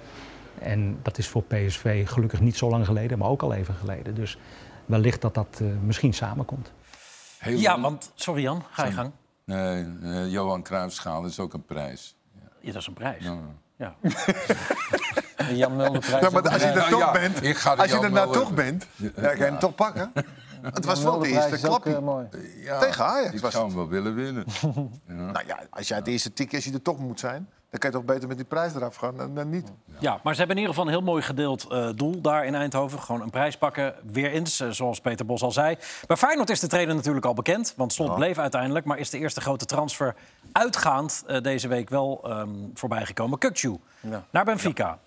S7: En dat is voor PSV gelukkig niet zo lang geleden, maar ook al even geleden. Dus wellicht dat dat eh, misschien samenkomt.
S4: Heel
S1: Ja, want... Sorry Jan, ga je gang.
S4: Nee, eh, Johan Cruijffschaal is ook een prijs.
S1: Ja, dat is een prijs. Ja.
S2: De Jan Mulderprijs.
S3: Ja, maar als je
S2: Ja,
S3: er
S4: Nou
S3: toch
S4: ja,
S3: bent,
S4: ik ga de
S3: als je
S4: Jan
S3: er nou
S4: Mulder-
S3: toch bent, ja, dan kan je hem toch pakken. Het was
S2: Jan
S3: wel de
S2: Mulderprijs
S3: eerste
S2: is ook,
S3: klapje.
S2: eh, mooi.
S4: Ja,
S3: Tegen Ajax
S4: Ik
S3: was
S4: zou
S3: het.
S4: hem wel willen winnen.
S3: Nou ja, als jij het eerste tikje, als je er toch moet zijn... dan kan je toch beter met die prijs eraf gaan dan, dan niet.
S1: Ja, maar ze hebben in ieder geval een heel mooi gedeeld eh, doel daar in Eindhoven. Gewoon een prijs pakken, weer eens, eh, zoals Peter Bos al zei. Bij Feyenoord is de trainer natuurlijk al bekend, want Slot bleef uiteindelijk. Maar is de eerste grote transfer uitgaand eh, deze week wel ehm voorbijgekomen. Kukcu
S2: Ja.
S1: naar Benfica.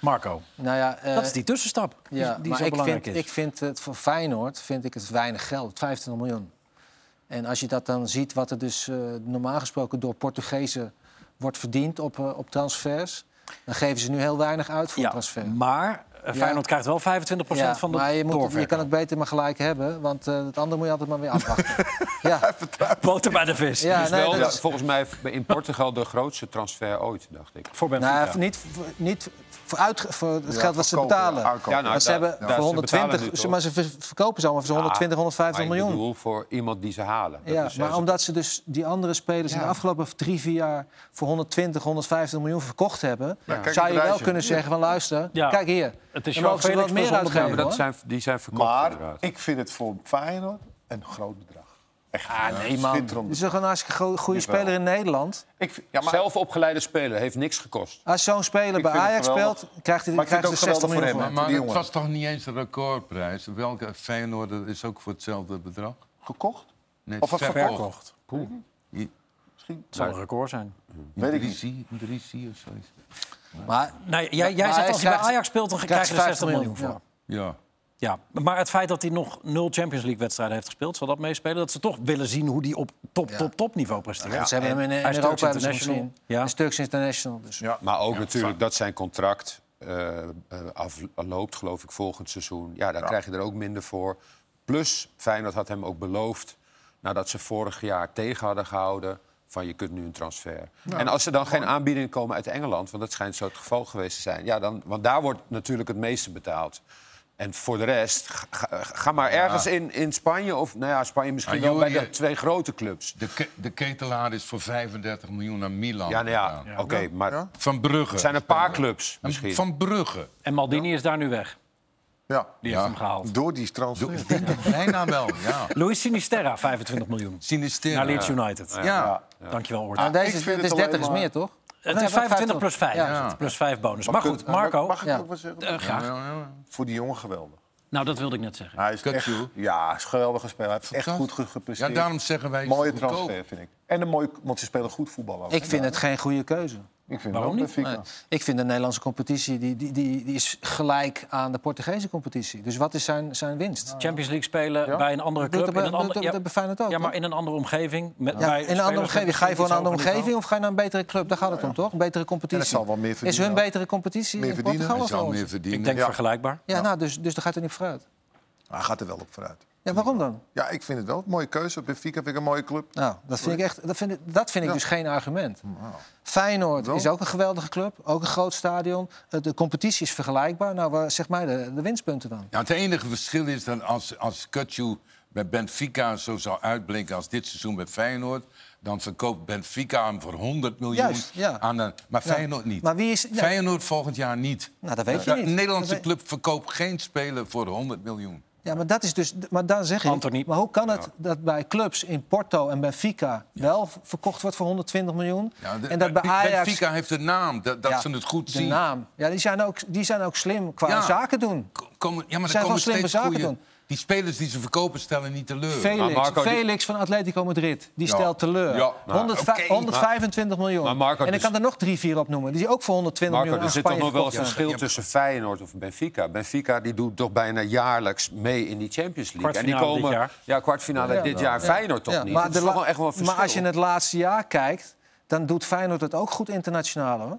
S1: Marco,
S2: Nou ja, eh,
S1: dat is die tussenstap die-
S2: Ja,
S1: die
S2: maar
S1: zo
S2: ik
S1: belangrijk
S2: vind,
S1: is.
S2: Ik vind het voor Feyenoord vind ik het weinig geld, 25 miljoen. En als je dat dan ziet, wat er dus eh, normaal gesproken door Portugezen wordt verdiend op, eh, op transfers, dan geven ze nu heel weinig uit voor
S1: ja,
S2: transfer.
S1: maar eh, Feyenoord krijgt wel 25%
S2: Ja,
S1: van de
S2: maar je, moet het, je
S1: doorverkoop.
S2: kan het beter maar gelijk hebben, want eh, het andere moet je altijd maar weer afwachten. ja,
S1: Boter bij de vis. Dus
S2: ja
S6: is
S2: nee,
S6: wel,
S2: dat is-
S6: volgens mij in Portugal de grootste transfer ooit, dacht ik.
S1: Voor Benfica.
S2: nou, niet, voor- niet voor, uit, voor het
S3: Ja,
S2: geld wat ze
S3: verkopen,
S2: betalen.
S3: ja, aankopen.
S6: Ja, nou,
S2: Want ze
S6: daar-
S2: hebben
S6: daar-
S2: voor
S6: ze betalen
S2: 120,
S6: nu
S2: ze-
S6: toch?
S2: maar ze ver- verkopen ze allemaal voor 120, 150
S6: maar
S2: miljoen.
S6: Ik bedoel, voor iemand die ze halen. Dat
S2: Ja,
S6: is-
S2: maar omdat ze dus die andere spelers in de afgelopen drie, vier jaar voor 120, 150 miljoen verkocht hebben,
S3: kijk het
S2: zou je wel
S3: rijtje.
S2: kunnen zeggen van luister,
S1: Ja.
S2: kijk hier.
S1: Het is
S2: dan
S1: João
S2: mogen ze
S1: Felix
S2: wat
S1: plus
S2: meer
S1: 100
S2: uitgeven.
S6: maar dat
S2: hoor.
S6: zijn, die zijn verkocht
S3: Maar
S6: inderdaad.
S3: ik vind het voor Feyenoord een groot bedrag. Echt
S2: Ah, nee, man.
S3: schitterend.
S2: Het is toch een hartstikke go- goede
S3: Jawel.
S2: speler in Nederland.
S3: Ik vind- ja, maar,
S6: Zelf opgeleide speler, heeft niks gekost.
S2: Als zo'n speler bij
S3: vind het
S2: Ajax
S3: geweldig.
S2: speelt, krijgt hij
S3: Maar ik vind
S2: krijgt
S3: het
S2: ze
S3: ook
S2: 60
S3: geweldig voor
S2: miljoen voor.
S3: hem,
S4: Maar
S3: die
S4: het
S3: jongen.
S4: was toch niet eens een recordprijs? Welke Feyenoorder is ook voor hetzelfde bedrag?
S3: gekocht?
S4: Nee,
S3: Of verkocht?
S1: Het zal een record zijn.
S3: Weet ik niet.
S4: Drie Drisi of zoiets.
S2: Maar
S1: Nou, jij jij
S2: Maar
S1: zegt
S2: hij
S1: als hij bij
S2: krijgt-
S1: Ajax speelt, dan krijg
S2: krijgt
S1: je
S2: ze
S1: er 60 miljoen,
S2: miljoen,
S1: voor.
S2: ja.
S4: Ja.
S1: Ja, maar het feit dat hij nog nul Champions League wedstrijden heeft gespeeld, zal dat meespelen? Dat ze toch willen zien hoe die op top, top, top niveau presteert.
S2: ze hebben hem in, in
S1: hij is Turks
S2: Europa hebben ze hem
S1: international.
S2: gezien.
S1: Ja.
S2: Hij is Turks International. Dus.
S3: Ja.
S6: Maar ook natuurlijk dat zijn contract eh, eh, afloopt, geloof ik, volgend seizoen. Ja, daar krijg je er ook minder voor. Plus, Feyenoord had hem ook beloofd, nadat ze vorig jaar tegen hadden gehouden... van je kunt nu een transfer. en als er dan geen aanbiedingen komen uit Engeland... want dat schijnt zo het geval geweest te zijn... Ja, dan, want daar wordt natuurlijk het meeste betaald... En voor de rest, ga, ga- ga maar ergens in, in Spanje of nou ja, Spanje misschien
S4: Ah,
S6: wel bij
S4: joh,
S6: de
S4: je-
S6: twee grote clubs.
S4: De, ke- de ketelaar is voor 35 miljoen naar Milan.
S6: Ja, nou ja,
S4: gegaan.
S6: oké, maar
S4: Van Brugge.
S6: het zijn een paar clubs misschien.
S4: Van Brugge.
S1: En Maldini is daar nu weg.
S3: Ja.
S1: Die heeft hem gehaald.
S3: Door die transfer.
S4: Bijna wel, ja.
S1: Luis Sinisterra, 25 miljoen.
S4: Sinistera.
S1: Naar Leeds United.
S4: Ja.
S1: Dankjewel, Ort.
S2: Maar
S3: ik
S2: Nou, deze, is-
S3: vind
S2: het is
S3: het
S2: 30 is
S3: alleen
S2: meer, toch?
S1: het
S2: Nee,
S1: is 25
S2: 25.
S1: plus 5.
S2: Ja.
S1: Plus 5 bonus. Maar goed, Marco.
S3: Mag ik
S2: Ja.
S3: ook wat zeggen?
S1: eh, graag.
S3: Voor die jongen geweldig.
S1: Nou, dat wilde ik net zeggen.
S3: Hij is echt,
S4: Kukju.
S3: ja, is een geweldige speler. Hij heeft echt goed ge- gepresteerd.
S4: Ja, daarom zeggen wij, het is
S3: Mooie
S4: goedkoop.
S3: transfer, vind ik. En een mooie, want ze spelen goed voetbal ook.
S2: Ik vind het geen goede keuze.
S3: ik vind
S1: waarom
S3: het ook
S1: niet?
S3: Benfica.
S2: Nee, ik vind de Nederlandse competitie die, die, die, die is gelijk aan de Portugese competitie. Dus wat is zijn, zijn winst?
S1: Champions League spelen bij een andere
S2: Doet
S1: club. in
S2: dat bij-
S1: een
S2: doet
S1: andere,
S2: dat-
S1: ja,
S2: dat bij Feyenoord ook,
S1: Ja, maar
S2: toch?
S1: in een andere omgeving. Met,
S2: Ja,
S1: bij
S2: in een
S1: spelers
S2: andere
S1: met
S2: omgeving. Ga je voor een
S1: iets
S2: andere
S1: hoger
S2: omgeving
S1: niveau.
S2: of ga je naar een betere club? Daar gaat het om, toch? Een betere competitie.
S3: En het zal wel meer
S2: is
S3: verdienen
S2: hun
S3: ook.
S2: betere competitie
S3: Meer
S2: in
S3: verdienen,
S2: Portugal
S4: Hij
S2: of
S4: zal
S2: wel?
S4: meer verdienen.
S1: Ik denk
S3: Ja.
S1: vergelijkbaar.
S2: Ja, nou, dus, dus daar gaat het niet vooruit.
S3: Hij gaat er wel op vooruit.
S2: Ja, waarom dan?
S3: Ja, ik vind het wel. Mooie keuze. Benfica vind ik een mooie club.
S2: Nou, dat vind ik, echt, dat vind ik, dat vind ik dus geen argument. Feyenoord
S3: Wel.
S2: is ook een geweldige club, ook een groot stadion. Eh, De competitie is vergelijkbaar. Nou, waar- zeg mij de, de winstpunten dan.
S4: Ja, het enige verschil is dat als, als Kutju bij Benfica zo zou uitblinken als dit seizoen bij Feyenoord... dan verkoopt Benfica hem voor 100 miljoen
S2: Juist, ja.
S4: aan een... Maar
S2: Ja.
S4: Feyenoord niet.
S2: Maar wie is- ja.
S4: Feyenoord volgend jaar niet.
S2: Nou, dat weet je
S4: Ja,
S2: niet.
S4: Een Nederlandse
S2: Dat weet-
S4: club verkoopt geen speler voor 100 miljoen.
S2: Ja, maar dat is dus. Maar dan zeg ik.
S1: Anthony.
S2: Maar hoe kan het dat bij clubs in Porto en Benfica wel v- verkocht wordt voor 120 miljoen?
S4: Ja, de-
S2: en dat bij
S4: Ben-
S2: Ajax.
S4: Benfica heeft de naam, dat, dat
S2: Ja,
S4: ze het goed
S2: de
S4: zien.
S2: naam. Ja, die zijn ook, die zijn ook slim qua
S4: Ja.
S2: zaken doen.
S4: Ko- Komen, ja, maar
S2: Zijn
S4: er komen
S2: gewoon slimme
S4: steeds
S2: zaken
S4: goede...
S2: doen.
S4: Die spelers die ze verkopen stellen niet teleur.
S2: Felix,
S6: Maar Marco, die-
S2: Felix van Atletico Madrid, die
S4: Ja.
S2: stelt teleur.
S4: Ja, maar-
S2: 100
S4: oké,
S2: 125 miljoen.
S6: maar Marco,
S2: en ik
S6: dus-
S2: kan er nog drie, vier op noemen. Dus Die ook voor 120
S6: Marco,
S2: miljoen aan
S6: er zit toch nog
S2: Spanje
S6: wel een
S2: verkocht
S6: verschil
S4: Ja, je hebt-
S6: tussen Feyenoord of Benfica. Benfica die doet toch bijna jaarlijks mee in die Champions League. En die
S1: Kwartfinale dit jaar.
S6: Ja, kwartfinale dit jaar. Feyenoord toch
S2: Ja,
S6: niet.
S2: maar,
S6: dat
S2: de
S6: is toch
S2: la-
S6: wel echt wel een verschil.
S2: maar als je het laatste jaar kijkt, dan doet Feyenoord het ook goed internationaal hoor.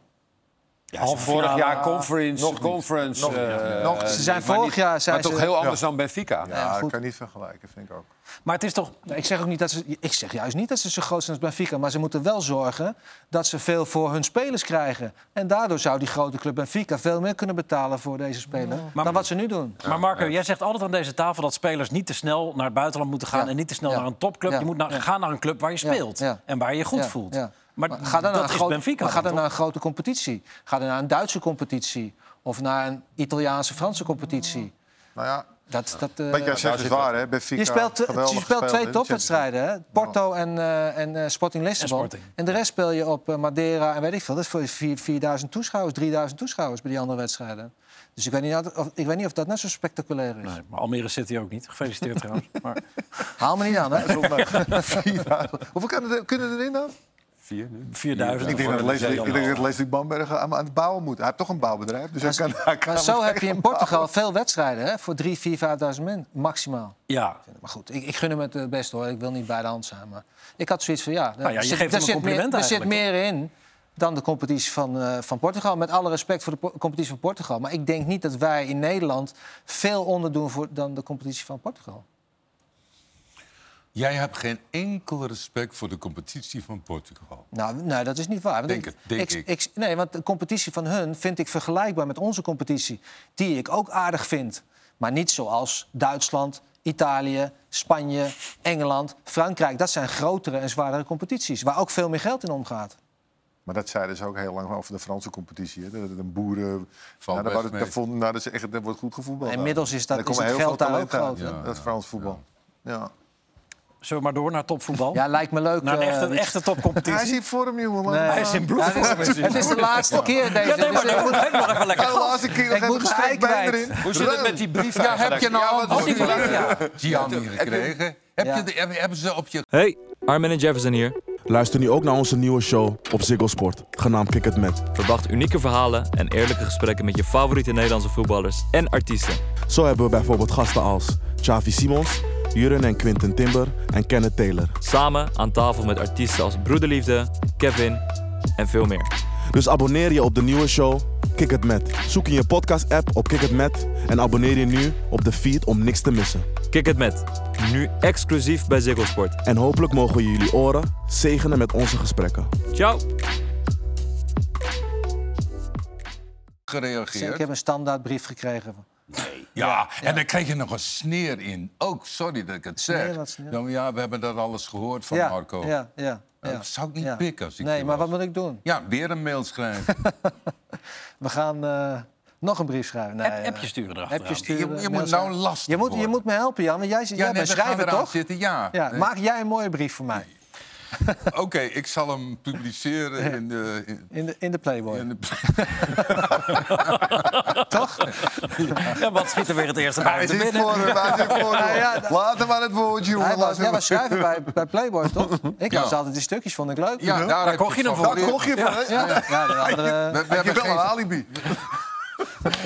S6: Ja, ze vorig jaar conference,
S3: nog niet.
S6: conference.
S3: Nog niet.
S6: eh,
S3: Nog niet.
S2: Ze zijn
S6: maar
S2: vorig
S6: niet-
S2: jaar zijn
S6: Maar toch
S2: ze-
S6: heel anders dan Benfica.
S3: Ja,
S2: goed.
S3: dat kan je niet vergelijken, vind ik ook.
S1: Maar het is toch
S2: Nou, ik, zeg ook niet dat ze, ik zeg juist niet dat ze zo groot zijn als Benfica. Maar ze moeten wel zorgen dat ze veel voor hun spelers krijgen. En daardoor zou die grote club Benfica veel meer kunnen betalen voor deze speler. dan wat ze nu doen.
S1: Maar Marco, jij zegt altijd aan deze tafel dat spelers niet te snel naar het buitenland moeten gaan
S2: Ja.
S1: en niet te snel
S2: Ja.
S1: naar een topclub.
S2: Ja.
S1: Je moet naar,
S2: Ja.
S1: gaan naar een club waar je
S2: Ja.
S1: speelt
S2: Ja.
S1: en waar je je goed
S2: Ja,
S1: voelt.
S2: ja.
S1: Maar,
S2: Maar ga dan naar
S1: dat
S2: een
S1: is
S2: groot-
S1: Benfica.
S2: maar ga
S1: dan
S2: dan naar een grote competitie. Ga dan naar een Duitse competitie. Of naar een Italiaanse-Franse competitie.
S3: Nou ja,
S2: Dat, dat, eh,
S3: wat jij zegt is
S6: zit
S3: waar, hè? Benfica,
S2: je speelt,
S3: eh,
S2: eh,
S3: geweldig
S2: je speelt
S3: gespeeld in
S2: twee
S3: de
S2: topwedstrijden, hè? Porto en, eh, en eh, Sporting Lissabon.
S1: En Sporting.
S2: de rest speel je op eh, Madeira en weet ik veel. Dat is voor vier- 4000 toeschouwers, 3000 toeschouwers bij die andere wedstrijden. Dus ik weet niet of, ik weet niet of dat net zo spectaculair is.
S1: Nee, maar Almere City ook niet. Gefeliciteerd trouwens. Maar
S2: Haal me niet aan, hè?
S3: Champions League. Hoeveel kunnen er, kunnen erin dan?
S6: Vier nu.
S1: 4000.
S3: Ik denk dat
S1: voor de
S3: Leslie- ik denk dat
S1: Zeeland.
S3: Leslie Bambergen aan, aan het bouwen moet. Hij heeft toch een bouwbedrijf, dus hij kan... hij kan
S2: Maar zo
S3: meteen
S2: heb je in
S3: gaan
S2: Portugal veel wedstrijden, hè? Voor 3, 4, 5000 men, maximaal.
S1: Ja,
S2: Maar goed, ik, ik gun hem het eh, best hoor. Ik wil niet bij de hand zijn. Maar ik had zoiets van ja, daar
S1: Nou ja, je geeft hem een
S2: daar zit
S1: compliment
S2: meer, Er zit
S1: eigenlijk,
S2: meer in dan de competitie van, eh, van Portugal. Met alle respect voor de po- competitie van Portugal. Maar ik denk niet dat wij in Nederland veel onderdoen voor, dan de competitie van Portugal.
S4: Jij hebt geen enkel respect voor de competitie van Portugal.
S2: Nou, nee, dat is niet waar. Want
S4: Denk het, denk ik.
S2: Nee, want de competitie van hun vind ik vergelijkbaar met onze competitie. Die ik ook aardig vind. Maar niet zoals Duitsland, Italië, Spanje, Engeland, Frankrijk. Dat zijn grotere en zwaardere competities. Waar ook veel meer geld in omgaat.
S3: Maar dat zeiden ze ook heel lang over de Franse competitie. Hè? Dat het een boeren...
S4: Valt
S3: nou, daar,
S4: best
S3: wordt-
S4: mee.
S3: daar vonden- nou, dat is echt, daar wordt goed gevoetbald.
S2: En inmiddels is dat-
S3: Daar
S2: is
S3: komen
S2: het
S3: heel
S2: geld
S3: veel
S2: daar ook
S3: talent uit,
S2: groot, hè?
S3: Dat Frans voetbal. Ja.
S1: zullen we maar door naar topvoetbal?
S2: Ja, lijkt me leuk.
S1: Naar Nou, een
S2: eh,
S1: echte,
S2: Richard.
S1: echte topcompetitie.
S3: Hij is in vorm, jongeman.
S2: Nee.
S1: Hij is in bloed.
S2: Ja, het, is, het is de laatste keer deze.
S1: Ja, nee, maar
S2: dus
S1: dat
S2: ik moet-
S1: moet nog even lekker.
S3: Hij laatste keer nog
S2: Ik
S3: even
S2: moet
S3: een
S2: mijn ei
S3: steekbeen
S2: kwijt.
S3: erin.
S6: Hoe zit het met die brief
S2: ja, heb je nou
S6: eigenlijk?
S2: al
S1: Oh, die van Leeuwen, ja.
S4: Die aan hier gekregen. Heb
S2: Ja.
S4: je de- heb- hebben ze op je
S8: Hey, Armin en Jefferson hier.
S9: Luister nu ook naar onze nieuwe show op Ziggo Sport, genaamd Kick It Met.
S8: Verwacht unieke verhalen en eerlijke gesprekken met je favoriete Nederlandse voetballers en artiesten.
S9: Zo hebben we bijvoorbeeld gasten als Xavi Simons, Jurgen en Quinten Timber en Kenneth Taylor.
S8: Samen aan tafel met artiesten als Broederliefde, Kevin en veel meer.
S9: Dus abonneer je op de nieuwe show Kick It Met. Zoek in je podcast-app op Kick It Met en abonneer je nu op de feed om niks te missen.
S8: Kick het met. Nu exclusief bij Ziggo Sport.
S9: En hopelijk mogen we jullie oren zegenen met onze gesprekken.
S8: Ciao!
S4: gereageerd?
S2: Ik heb een standaardbrief gekregen.
S4: Ja, en dan kreeg je nog een sneer in. Ook, sorry dat ik het zeg.
S2: wat sneer.
S4: Nou ja, we hebben dat alles gehoord van
S2: ja,
S4: Marco.
S2: Ja, ja, ja.
S4: Dat zou ik niet
S2: ja.
S4: pikken als ik
S2: Nee,
S4: je
S2: maar
S4: was.
S2: wat moet ik doen?
S4: Ja, weer een mail schrijven.
S2: We gaan eh, nog een brief schrijven. Nee,
S1: App- appjes
S2: eh,
S1: sturen erachteraan.
S2: appjes
S4: je,
S2: sturen.
S4: je moet
S2: mails
S4: nou
S2: aan.
S4: lastig
S2: je moet, je
S4: worden.
S2: moet me helpen, Jan. want Jij, jij
S4: nee,
S2: bent
S4: we gaan
S2: schrijver,
S4: eraan
S2: toch?
S4: Zitten, ja.
S2: Ja,
S4: Nee.
S2: Maak jij een mooie brief voor mij
S4: Oké, ik zal hem publiceren in de... In,
S2: in de, in de Playboy.
S4: in de-
S2: Toch?
S1: En wat schiet er weer het eerste
S3: Hij
S1: bij
S3: is
S1: te
S3: in
S1: binnen?
S3: vorm, hij is in vorm.
S2: ja, dat-
S3: Laat hem aan het woord, jongen.
S2: Hij was,
S3: Laat
S2: jij
S3: hem-
S2: was schrijver bij, bij Playboy, toch? Ik
S4: Ja.
S2: las altijd die stukjes, vond ik leuk. Nou,
S4: ja, daar, heb
S1: kocht je hem voor.
S4: van
S3: Daar
S4: geleerd.
S3: kocht je van, hè?
S2: Ja, ja, de andere-
S4: We, we
S3: Heb je
S4: hebben
S3: wel een
S4: geen...
S3: alibi.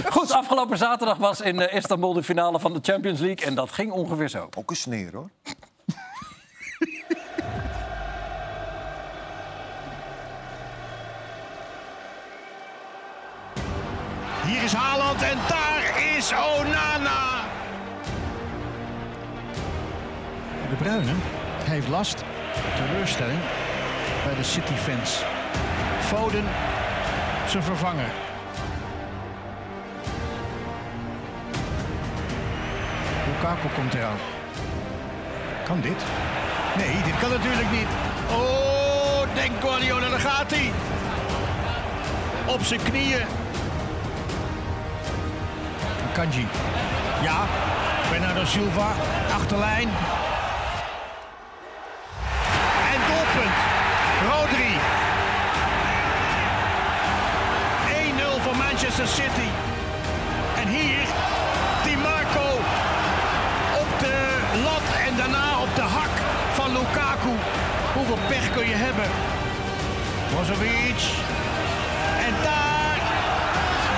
S1: Goed, afgelopen zaterdag was in eh, Istanbul de finale van de Champions League. En dat ging ongeveer zo.
S3: Ook een sneer, hoor.
S10: Hier is Haaland en daar is Onana. De Bruyne heeft last, teleurstelling bij de City fans. Foden, zijn vervanger. Lukaku komt eraan. Kan dit? Nee, dit kan natuurlijk niet. Oh, denk Guardiola, daar gaat hij. Op zijn knieën. Kanji. Ja, Bernardo Silva, achterlijn. En doelpunt. Rodri. 1-0 voor Manchester City. En hier Di Marco op de lat en daarna op de hak van Lukaku. Hoeveel pech kun je hebben? Brozovic. En daar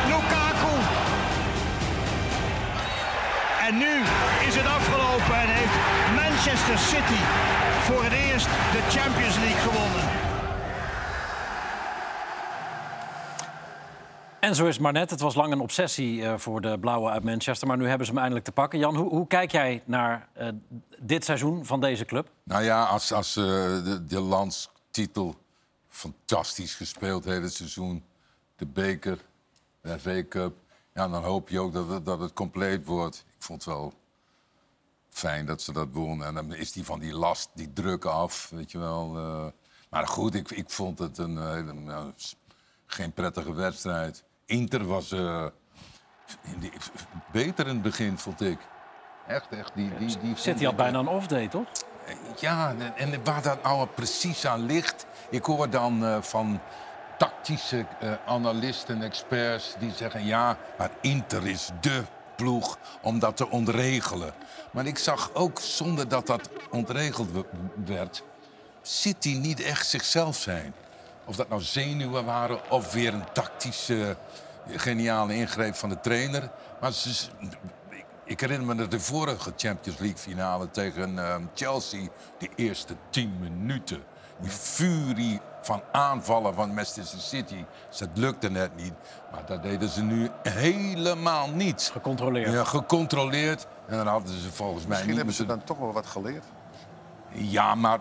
S10: Lukaku. En nu is het afgelopen en heeft Manchester City voor het eerst de Champions League gewonnen.
S1: En zo is het maar net. Het was lang een obsessie eh, voor de blauwe uit Manchester. Maar nu hebben ze hem eindelijk te pakken. Jan, hoe, hoe kijk jij naar eh, dit seizoen van deze club?
S4: Nou ja, als, als eh, de, de landstitel fantastisch gespeeld heeft het seizoen. De beker, de FA Cup. Ja, dan hoop je ook dat het, dat het compleet wordt. Ik vond het wel fijn dat ze dat won. En dan is die van die last, die druk af, weet je wel. eh. maar goed, ik, eh, ik vond het een, hele- nou, s- geen prettige wedstrijd. Inter was eh, in de- beter in het begin, vond ik. Echt, echt. Die, die, die
S1: Zit hij al bijna een off-day, toch?
S4: Ja, en- en waar dat nou precies aan ligt. Ik hoor dan eh, van tactische eh, analisten, experts, die zeggen ja, maar Inter is dé ploeg om dat te ontregelen. Maar ik zag ook, zonder dat dat ontregeld we- werd, City niet echt zichzelf zijn. Of dat nou zenuwen waren of weer een tactische geniale ingreep van de trainer. Maar ze, ik, ik herinner me de vorige Champions League finale tegen ehm, Chelsea. De eerste tien minuten. Die furie van aanvallen van Manchester City. Dus dat lukte net niet. Maar dat deden ze nu helemaal niet.
S1: Gecontroleerd.
S4: Ja, gecontroleerd. En dan hadden ze volgens mij
S3: Misschien
S4: niet
S3: hebben ze
S4: moeten-
S3: dan toch wel wat geleerd.
S4: Ja, maar...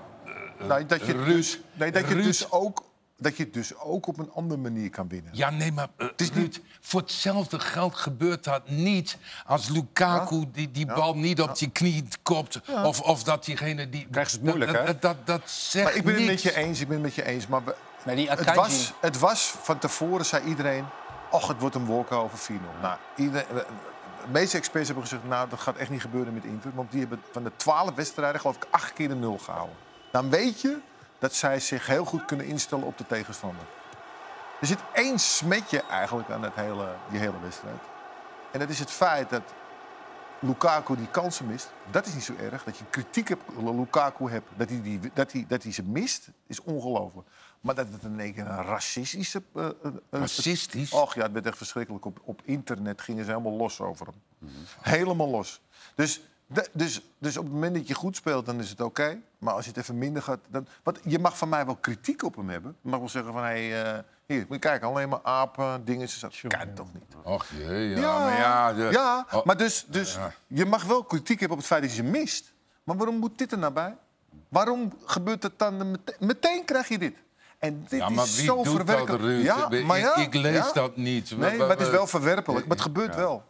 S4: eh,
S3: Nee, dat je,
S4: Ruus,
S3: nee, dat je,
S4: Ruus-
S3: dus ook, dat je het dus ook op een andere manier kan winnen.
S4: Ja, nee, maar eh, Ruud, voor hetzelfde geld gebeurt dat niet als Lukaku die, die bal niet op die knie kopt. Of, of dat diegene die...
S6: Krijgen ze het moeilijk,
S4: dat,
S6: hè?
S4: Dat, dat, dat zegt
S3: Maar ik ben het met
S4: niks.
S3: je eens, ik ben het met je eens. Maar we-
S2: Maar die
S3: het,
S2: Akanji-
S3: was, het was van tevoren, zei iedereen... Och, het wordt een walkover 4-0. Nou, ieder- de meeste experts hebben gezegd... Nou, dat gaat echt niet gebeuren met Inter. Want die hebben van de 12 wedstrijden geloof ik acht keer de nul gehouden. Dan weet je dat zij zich heel goed kunnen instellen op de tegenstander. Er zit één smetje eigenlijk aan dat hele, die hele wedstrijd. En dat is het feit dat Lukaku die kansen mist, dat is niet zo erg. Dat je kritiek op Lukaku hebt, dat hij, die, dat hij, dat hij ze mist, is ongelooflijk. Maar dat het in één keer een racistische... eh, eh, eh,
S4: Racistisch?
S3: Och ja, het werd echt verschrikkelijk. Op, op internet gingen ze helemaal los over hem. Helemaal los. Dus, da- dus, dus op het moment dat je goed speelt, dan is het oké. Maar als je het even minder gaat... Dan, want je mag van mij wel kritiek op hem hebben. Je mag wel zeggen van, hé, hey, eh, hier, moet je kijken. Alleen maar apen, dingen. Ze zeggen, Kan toch niet?
S4: Och jee, ja, maar ja... de-
S3: Ja,
S4: Oh,
S3: maar dus, dus je mag wel kritiek hebben op het feit dat je ze mist. Maar waarom moet dit er nou bij? Waarom gebeurt het dan meteen? Meteen krijg je dit. En dit
S4: ja, maar
S3: is
S4: wie
S3: zo
S4: doet dat,
S3: verwerkelijk.
S4: Ruud?
S3: Ja,
S4: Ik-
S3: maar ja,
S4: ik, lees
S3: ja.
S4: dat niet.
S3: Nee, maar het is wel verwerpelijk. Maar het gebeurt wel.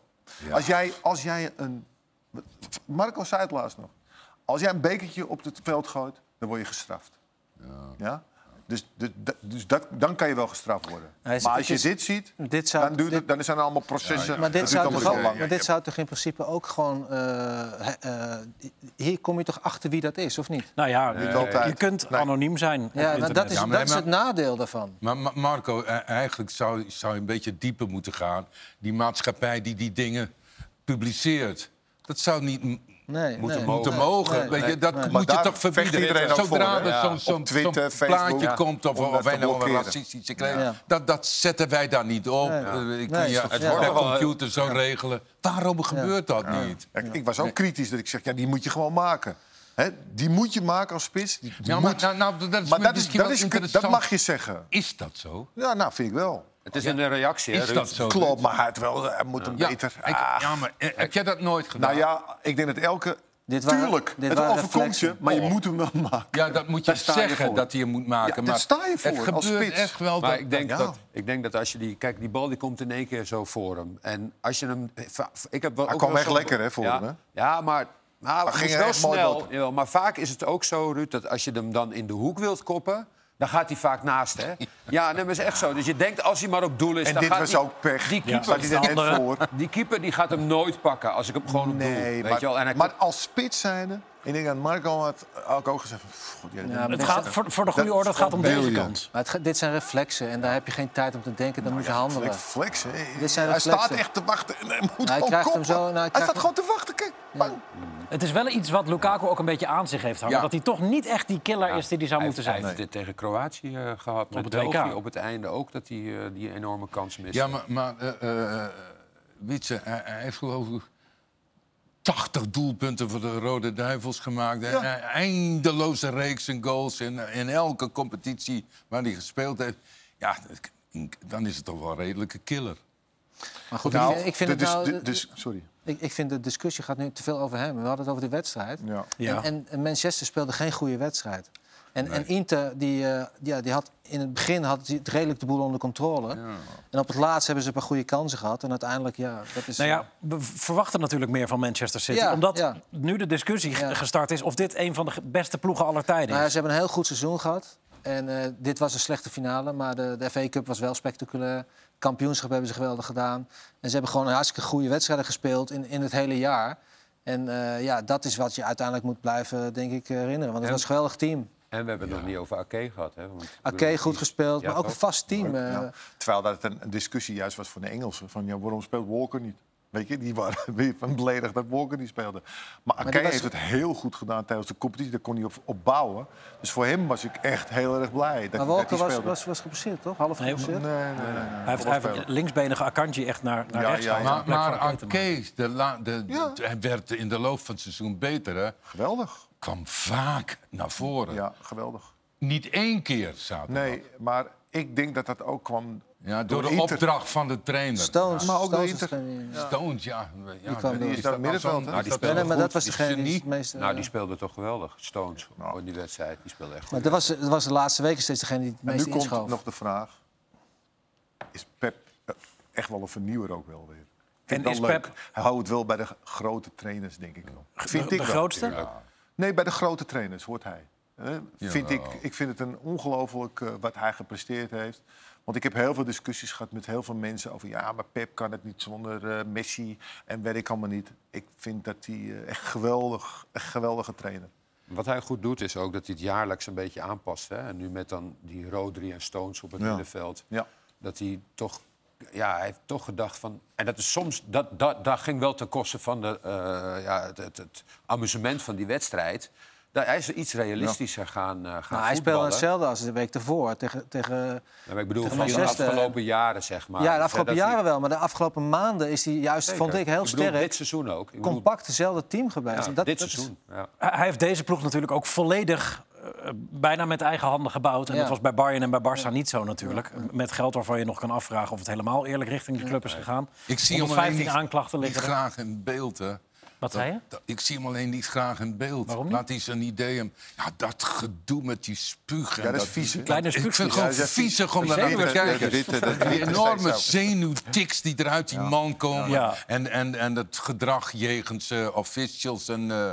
S4: Ja.
S3: Als, jij, als jij een... Marco zei het laatst nog. Als jij een bekertje op het veld gooit, dan word je gestraft. Ja? Dus, dus, dus dat, dan kan je wel gestraft worden.
S2: Hij is-
S3: maar als
S2: het
S3: je
S2: is-
S3: dit ziet,
S2: dit zou-
S3: dan, duurt het, dan zijn er allemaal processen.
S2: Maar dit,
S3: Dat
S2: zou
S3: duurt
S2: toch,
S3: allemaal zo
S2: ook,
S3: lang.
S2: maar dit zou toch in principe ook gewoon... eh, he- eh, hier kom je toch achter wie dat is, of niet?
S1: Nou ja,
S3: Niet
S1: je-
S3: altijd.
S1: je kunt
S3: Nee.
S1: anoniem zijn op
S2: Ja, nou,
S1: internet.
S2: dat is,
S4: Ja, maar-
S2: dat is het nadeel daarvan.
S4: Maar Ma- Marco, eh, eigenlijk zou, zou je een beetje dieper moeten gaan. Die maatschappij die die dingen publiceert. Dat zou niet m-
S2: Nee,
S4: moeten,
S2: nee,
S4: moeten
S2: nee,
S4: mogen.
S2: nee.
S4: Weet je, dat
S2: Maar
S4: moet je
S3: daar
S4: toch
S3: vecht iedereen
S4: verbieden.
S3: ook
S4: Zodra
S3: voor, hè?
S4: er
S3: Ja.
S4: zo'n zo'n
S3: Op Twitter,
S4: zo'n
S3: Facebook,
S4: plaatje
S3: ja.
S4: komt of,
S3: Om
S4: of
S3: dat te
S4: een of andere
S3: blokkeren.
S4: racistische claim...
S2: Ja.
S4: Dat, dat zetten wij daar niet op. Eh, Ik kan
S2: Nee,
S4: je
S2: het
S4: het
S2: wordt
S4: per
S6: wel, eh,
S4: computer zo regelen. Waarom gebeurt dat niet?
S3: Ja, ik- Ik was ook kritisch dat ik zeg, ja, die moet je gewoon maken. Hè? Die moet je maken als spits. Die
S4: Ja, maar,
S3: moet-
S4: nou, nou, dat is
S3: maar dat, is,
S4: misschien
S3: dat,
S4: wel
S3: is,
S4: interessant.
S3: dat mag je zeggen.
S4: Is dat zo?
S3: Ja, nou, vind ik wel.
S6: Het is een reactie, hè,
S4: Is
S6: Ruud?
S4: dat zo?
S3: Klopt, maar hij, had wel, hij moet hem
S4: Ja,
S3: beter.
S4: ik-
S3: Ah.
S4: ja, maar eh, heb jij dat nooit gedaan?
S3: nou ja, ik denk dat elke...
S2: Dit waren-
S3: tuurlijk,
S2: dit
S3: het
S2: waren
S3: overkomt je,
S2: reflexen.
S3: maar je moet hem wel maken.
S4: Ja, dat moet je
S3: Daar sta je
S4: zeggen
S3: voor.
S4: dat hij hem moet maken.
S3: Ja,
S4: maar
S3: daar sta je voor,
S4: Het
S3: als
S4: gebeurt
S3: spits.
S4: echt wel.
S6: Maar
S4: dat-
S6: ik denk,
S3: ja.
S6: dat, ik denk dat als je die... Kijk, die bal die komt in één keer zo voor hem. En als je hem... va- Ik heb wel,
S3: Hij
S6: ook
S3: kwam
S6: wel
S3: echt
S6: zo'n-
S3: lekker, hè, voor
S6: ja,
S3: hem, hè?
S6: Ja, maar... Nou, het
S3: ging
S6: ging
S3: er
S6: wel
S3: echt mooi
S6: snel.
S3: boven.
S6: Jawel, maar vaak is het ook zo, Ruud, dat als je hem dan in de hoek wilt koppen... dan gaat hij vaak naast, hè? Ja, nee, maar is echt zo. Dus je denkt, als hij maar op doel is...
S3: En
S6: dan
S3: dit
S6: gaat
S3: was
S6: die-
S3: ook pech.
S6: Die
S3: Ja.
S6: keeper,
S3: Staat hij er net voor.
S6: die keeper die gaat hem nooit pakken als ik hem gewoon op doel...
S3: Nee,
S6: weet je wel.
S3: maar,
S6: En hij
S3: maar als spits zijnde... Ik denk dat Marco had ook, ook gezegd... van, "Pff, God, ja, dat-
S1: Het gaat, voor, voor de goede
S3: Dat
S1: orde, het gaat om
S3: wil
S1: deze
S3: je.
S1: kant.
S2: Maar het, ge- dit zijn reflexen en daar heb je geen tijd om te denken.
S4: Nou
S2: Dan moet je handelen.
S3: Reflex, hè.
S2: Dit zijn
S3: hij
S2: reflexen.
S3: staat echt te wachten en hij moet
S2: hij
S3: gewoon
S2: krijgt hem
S3: koppen.
S2: zo en hij
S3: hij
S2: krijgt
S3: staat
S2: hem-
S3: gewoon te wachten, kijk. Bang.
S1: Het is wel iets wat Lukaku ook een beetje aan zich heeft hangen.
S4: Ja.
S1: Dat hij toch niet echt die killer is die hij zou moeten
S6: Hij
S1: zijn.
S6: heeft dit tegen Kroatië eh, gehad.
S1: het
S6: Op het,
S1: WK.
S6: België, op het einde ook dat hij eh, die enorme kans miste.
S4: Ja, maar, maar eh, eh, Witse, hij, hij heeft geloof ik 80 doelpunten voor de Rode Duivels gemaakt. En een Eindeloze reeks en goals in, in elke competitie waar hij gespeeld heeft. Ja, dat- dan is het toch wel een redelijke killer.
S2: Maar goed,
S3: Nou,
S2: ik vind, ik vind het
S3: dus-
S2: nou...
S3: dus- dus- sorry.
S2: Ik, ik vind de discussie gaat nu te veel over hem. We hadden het over de wedstrijd.
S3: Ja.
S1: Ja.
S2: En, en Manchester speelde geen goede wedstrijd. En, en Inter, die, eh, ja, die had in het begin had die het redelijk de boel onder controle. En op het laatst hebben ze een paar goede kansen gehad. En uiteindelijk, ja, dat is... eh,
S1: Nou ja, we v- verwachten natuurlijk meer van Manchester City.
S2: Ja,
S1: omdat
S2: ja.
S1: nu de discussie g-
S2: Ja.
S1: gestart is of dit een van de ge- beste ploegen aller tijden
S2: Nou ja,
S1: is.
S2: ze hebben een heel goed seizoen gehad. En eh, dit was een slechte finale, maar de, de FA Cup was wel spectaculair. Kampioenschap hebben ze geweldig gedaan. En ze hebben gewoon een hartstikke goede wedstrijden gespeeld in, in het hele jaar. En eh, ja, dat is wat je uiteindelijk moet blijven, denk ik, herinneren. Want het
S6: En-
S2: was een geweldig team.
S6: En we hebben het nog niet over Ake gehad. hè, want ik
S2: Oké,
S6: bedoel,
S2: goed
S6: die-
S2: gespeeld,
S6: Ja, oh,
S2: maar ook
S6: toch?
S2: een vast team. eh.
S3: Ja. Terwijl dat een een discussie juist was voor de Engelsen. Van ja, waarom speelt Walker niet? Weet je, die waren weer van beledigd dat Walker niet speelde. Maar
S2: dat
S3: Ake
S2: was-
S3: heeft het heel goed gedaan tijdens de competitie. Daar kon hij op, op bouwen. Dus voor hem was ik echt heel erg blij dat,
S2: Maar
S3: dat
S2: Walker
S3: hij
S2: was,
S3: speelde.
S2: was, was geblesseerd, toch? Half
S1: Nee,
S2: geblesseerd?
S3: Nee, nee, nee. nee.
S1: Hij heeft, hij heeft het linksbenige Akanji echt naar, naar
S3: Ja,
S1: rechts
S3: ja, ja.
S1: gehaald.
S4: Maar,
S1: in de plek
S4: maar
S1: van Akate.
S4: Arcade, de la- de-
S3: Ja.
S4: hij werd in de loop van het seizoen beter. Hè?
S3: Geweldig.
S4: Kwam vaak naar voren.
S3: Ja, geweldig.
S4: Niet één keer zaten.
S3: Nee, maar ik denk dat dat ook kwam
S4: Ja, door, de
S3: Inter.
S4: opdracht van de trainer.
S2: Stones.
S3: Maar ook
S2: Stones
S3: de Inter-
S2: was geen-
S4: Ja. Stones, ja. ja
S2: kwam door.
S4: is
S2: Die
S3: is daar
S4: dat
S3: middenveld,
S4: dan zo'n-
S3: hè?
S4: is
S6: Die
S4: dat
S2: Nee,
S6: speelde
S4: dan
S2: nee, maar
S4: goed?
S2: dat was
S4: Is
S2: degene die
S4: genie?
S2: het meeste...
S6: Nou, die
S2: ja.
S6: speelde toch geweldig. Stones, hoor, die wedstrijd. Die speelde echt
S2: Maar
S6: goed.
S2: dat was, dat was de laatste weken steeds degene die het
S3: En nu
S2: meest
S3: komt
S2: inschoof.
S3: nog de vraag: is Pep eh, echt wel een vernieuwer ook wel weer?
S1: En
S3: Vind en
S1: is
S3: is leuk.
S1: Pep-
S3: Hij houdt het wel bij de g- grote trainers, denk ik wel. Vind
S1: de,
S3: ik
S1: de
S3: wel.
S1: grootste?
S3: Nee, bij de grote trainers hoort hij. Eh, vind ik,
S4: Jawel.
S3: ik vind het een ongelooflijk eh, wat hij gepresteerd heeft. Want ik heb heel veel discussies gehad met heel veel mensen over... ja, maar Pep kan het niet zonder eh, Messi en weet ik allemaal niet. Ik vind dat hij eh, echt geweldig, echt geweldige trainer.
S6: Wat hij goed doet, is ook dat hij het jaarlijks een beetje aanpast. Hè? En nu met dan die Rodri en Stones op het
S3: Ja.
S6: middenveld.
S3: Ja.
S6: Dat hij toch... Ja, hij heeft toch gedacht van... En dat is soms... Dat, dat, dat ging wel ten koste van de, eh, ja, het, het, het amusement van die wedstrijd. Dat, hij is iets realistischer gaan, eh gaan
S2: Nou, hij speelde
S6: voetballen.
S2: hetzelfde als de week ervoor. Tegen, tegen...
S6: Ja, maar ik bedoel,
S2: Tegen
S6: van de
S2: Manchester.
S6: afgelopen jaren, zeg maar.
S2: Ja, de
S6: Dus,
S2: afgelopen
S6: hè, dat hij-
S2: jaren wel. Maar de afgelopen maanden is hij juist,
S6: Zeker.
S2: vond ik, heel
S6: bedoel,
S2: sterk...
S6: dit seizoen ook. Ik bedoel,
S2: compact hetzelfde team gebleven.
S6: ja,
S2: En dat-
S6: dit
S2: dat is-
S6: seizoen, ja.
S1: Hij hij heeft deze ploeg natuurlijk ook volledig eh, bijna met eigen handen gebouwd. En
S2: Ja.
S1: dat was bij Bayern en bij Barça niet zo natuurlijk. Met geld waarvan je nog kan afvragen of het helemaal eerlijk richting die club is gegaan.
S4: Ik zie hem
S1: 115
S4: alleen niet,
S1: aanklachten
S4: niet
S1: liggen. er.
S4: graag in beeld, hè.
S1: Wat zei je?
S4: ik zie hem alleen niet graag in beeld.
S1: Waarom niet?
S4: Laat hij zijn ideeën... Ja, dat gedoe met die spugen.
S3: Ja, dat is vies, hè?
S1: Kleine
S4: Ik vind
S1: spuugjes.
S4: het gewoon
S3: Ja, dat is vies.
S4: viezig om
S3: Dat
S4: daaraan te
S3: witte-
S4: kijken.
S3: dat witte- dat
S4: Die
S3: witte
S4: enorme
S3: steeds zo.
S4: zenuwtics die eruit die man komen.
S1: Ja.
S4: En, en, en het gedrag jegens eh, officials en... eh,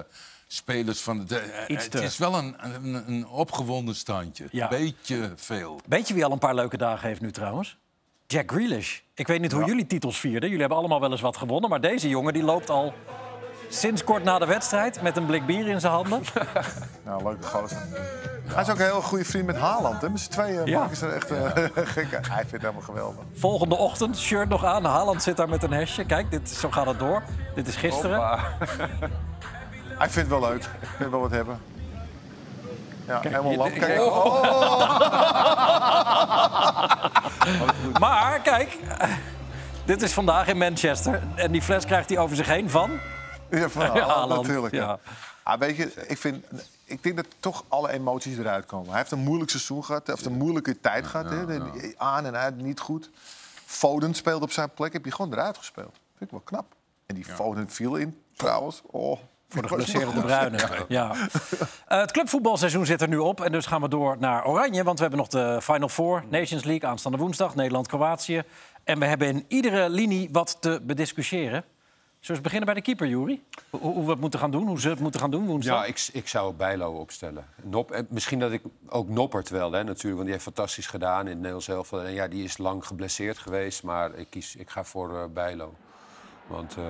S4: Spelers van de. eh,
S1: Iets
S4: het
S1: te-
S4: is wel een, een, een opgewonden standje.
S1: Ja.
S4: Een beetje veel.
S1: Weet je wie al een paar leuke dagen heeft nu trouwens? Jack Grealish. Ik weet niet hoe jullie titels vierden. Jullie hebben allemaal wel eens wat gewonnen. Maar deze jongen die loopt al sinds kort na de wedstrijd... met een blik bier in zijn handen.
S3: Nou, leuke gozer. Hij is ook een heel goede vriend met Haaland. Hè? Met z'n tweeën
S1: Ja.
S3: maken ze er echt eh, gek uit. Hij vindt het helemaal geweldig.
S1: Volgende ochtend, shirt nog aan. Haaland zit daar met een hesje. Kijk, dit, zo gaat het door. Dit is gisteren.
S3: Hij vindt het wel leuk. Ik vind wel wat hebben. Ja, helemaal lam. Kijk, oh,
S1: Maar kijk, dit is vandaag in Manchester. En die fles krijgt hij over zich heen van.
S3: Ja, van Haaland
S1: Haaland,
S3: natuurlijk. hè.
S1: ja.
S3: Ah, weet je, ik, vind, ik denk dat toch alle emoties eruit komen. Hij heeft een moeilijk seizoen gehad, hij heeft een moeilijke tijd gehad. hè. De- Aan en uit, niet goed. Foden speelde op zijn plek, heb je gewoon eruit gespeeld. Vind ik wel knap. En die Foden viel in, trouwens. Oh, voor de
S1: Blesseren de Bruyne. Ja. Eh, het clubvoetbalseizoen zit er nu op. En dus gaan we door naar Oranje. Want we hebben nog de Final Four. Nations League aanstaande woensdag. Nederland-Kroatië. En we hebben in iedere linie wat te bediscussiëren. Zullen we eens beginnen bij de keeper, Juri? Hoe, hoe we het moeten gaan doen, hoe ze het moeten gaan doen woensdag.
S6: Ja, ik, ik zou Bijlo opstellen. Nop, en misschien dat ik ook Noppert wel, hè, natuurlijk. Want die heeft fantastisch gedaan in het Nederlands elftal. En ja, die is lang geblesseerd geweest. Maar ik, kies, ik ga voor eh, Bijlo. Want eh,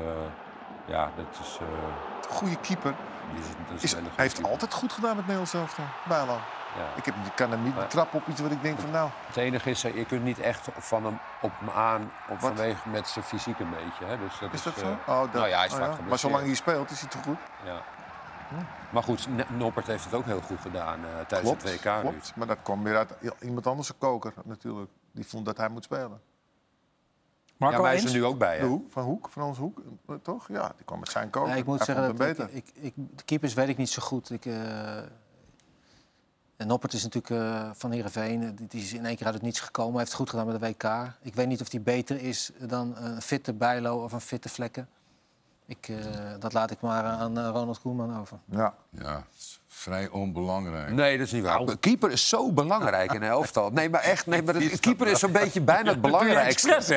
S6: ja, dat is... eh,
S3: Goede keeper.
S6: die is, dat is
S3: Is,
S6: een
S3: hij
S6: hele goede
S3: heeft
S6: keeper.
S3: altijd goed gedaan met Nederlands elftal, Bijlo.
S6: Ja.
S3: Ik, heb, ik kan hem niet betrappen op iets wat ik denk van nou...
S6: Het enige is, eh, je kunt niet echt van hem op hem aan... Op vanwege met zijn fysiek een beetje. Hè. Dus dat
S3: Is dat
S6: eh,
S3: zo? Oh, dat-
S6: nou ja, hij is
S3: oh, ja.
S6: vaak
S3: Maar
S6: geblesseerd.
S3: zolang hij speelt, is hij toch goed?
S6: Ja. Maar goed, N- Noppert heeft het ook heel goed gedaan eh, tijdens het WK. nu.
S3: klopt. Maar dat kwam weer uit iemand anders zijn koker natuurlijk. Die vond dat hij moet spelen.
S6: Ja,
S1: Marco,
S6: wij
S1: eens?
S6: zijn er nu ook bij.
S3: De
S6: Hè?
S3: Hoek, van Hoek, van ons Hoek, eh, toch? Ja, die kwam met zijn koker.
S2: Ja, ik moet
S3: hij
S2: zeggen
S3: vond
S2: dat
S3: hem
S2: ik,
S3: beter.
S2: ik, ik, de keepers weet ik niet zo goed. Ik, eh, en Noppert is natuurlijk eh, van Heerenveen. eh, Die, die is in één keer uit het niets gekomen. Hij heeft het goed gedaan met de WK. Ik weet niet of die beter is dan een fitte Bijlo of een fitte Vlekken. Ik, eh, dat laat ik maar aan eh, Ronald Koeman over.
S3: Ja.
S4: Ja, het is vrij onbelangrijk.
S6: Nee, dat is niet waar. Keeper is zo belangrijk in een elftal. Nee, maar echt. Nee, maar dat, keeper is zo'n beetje bijna het belangrijkste.
S1: expres,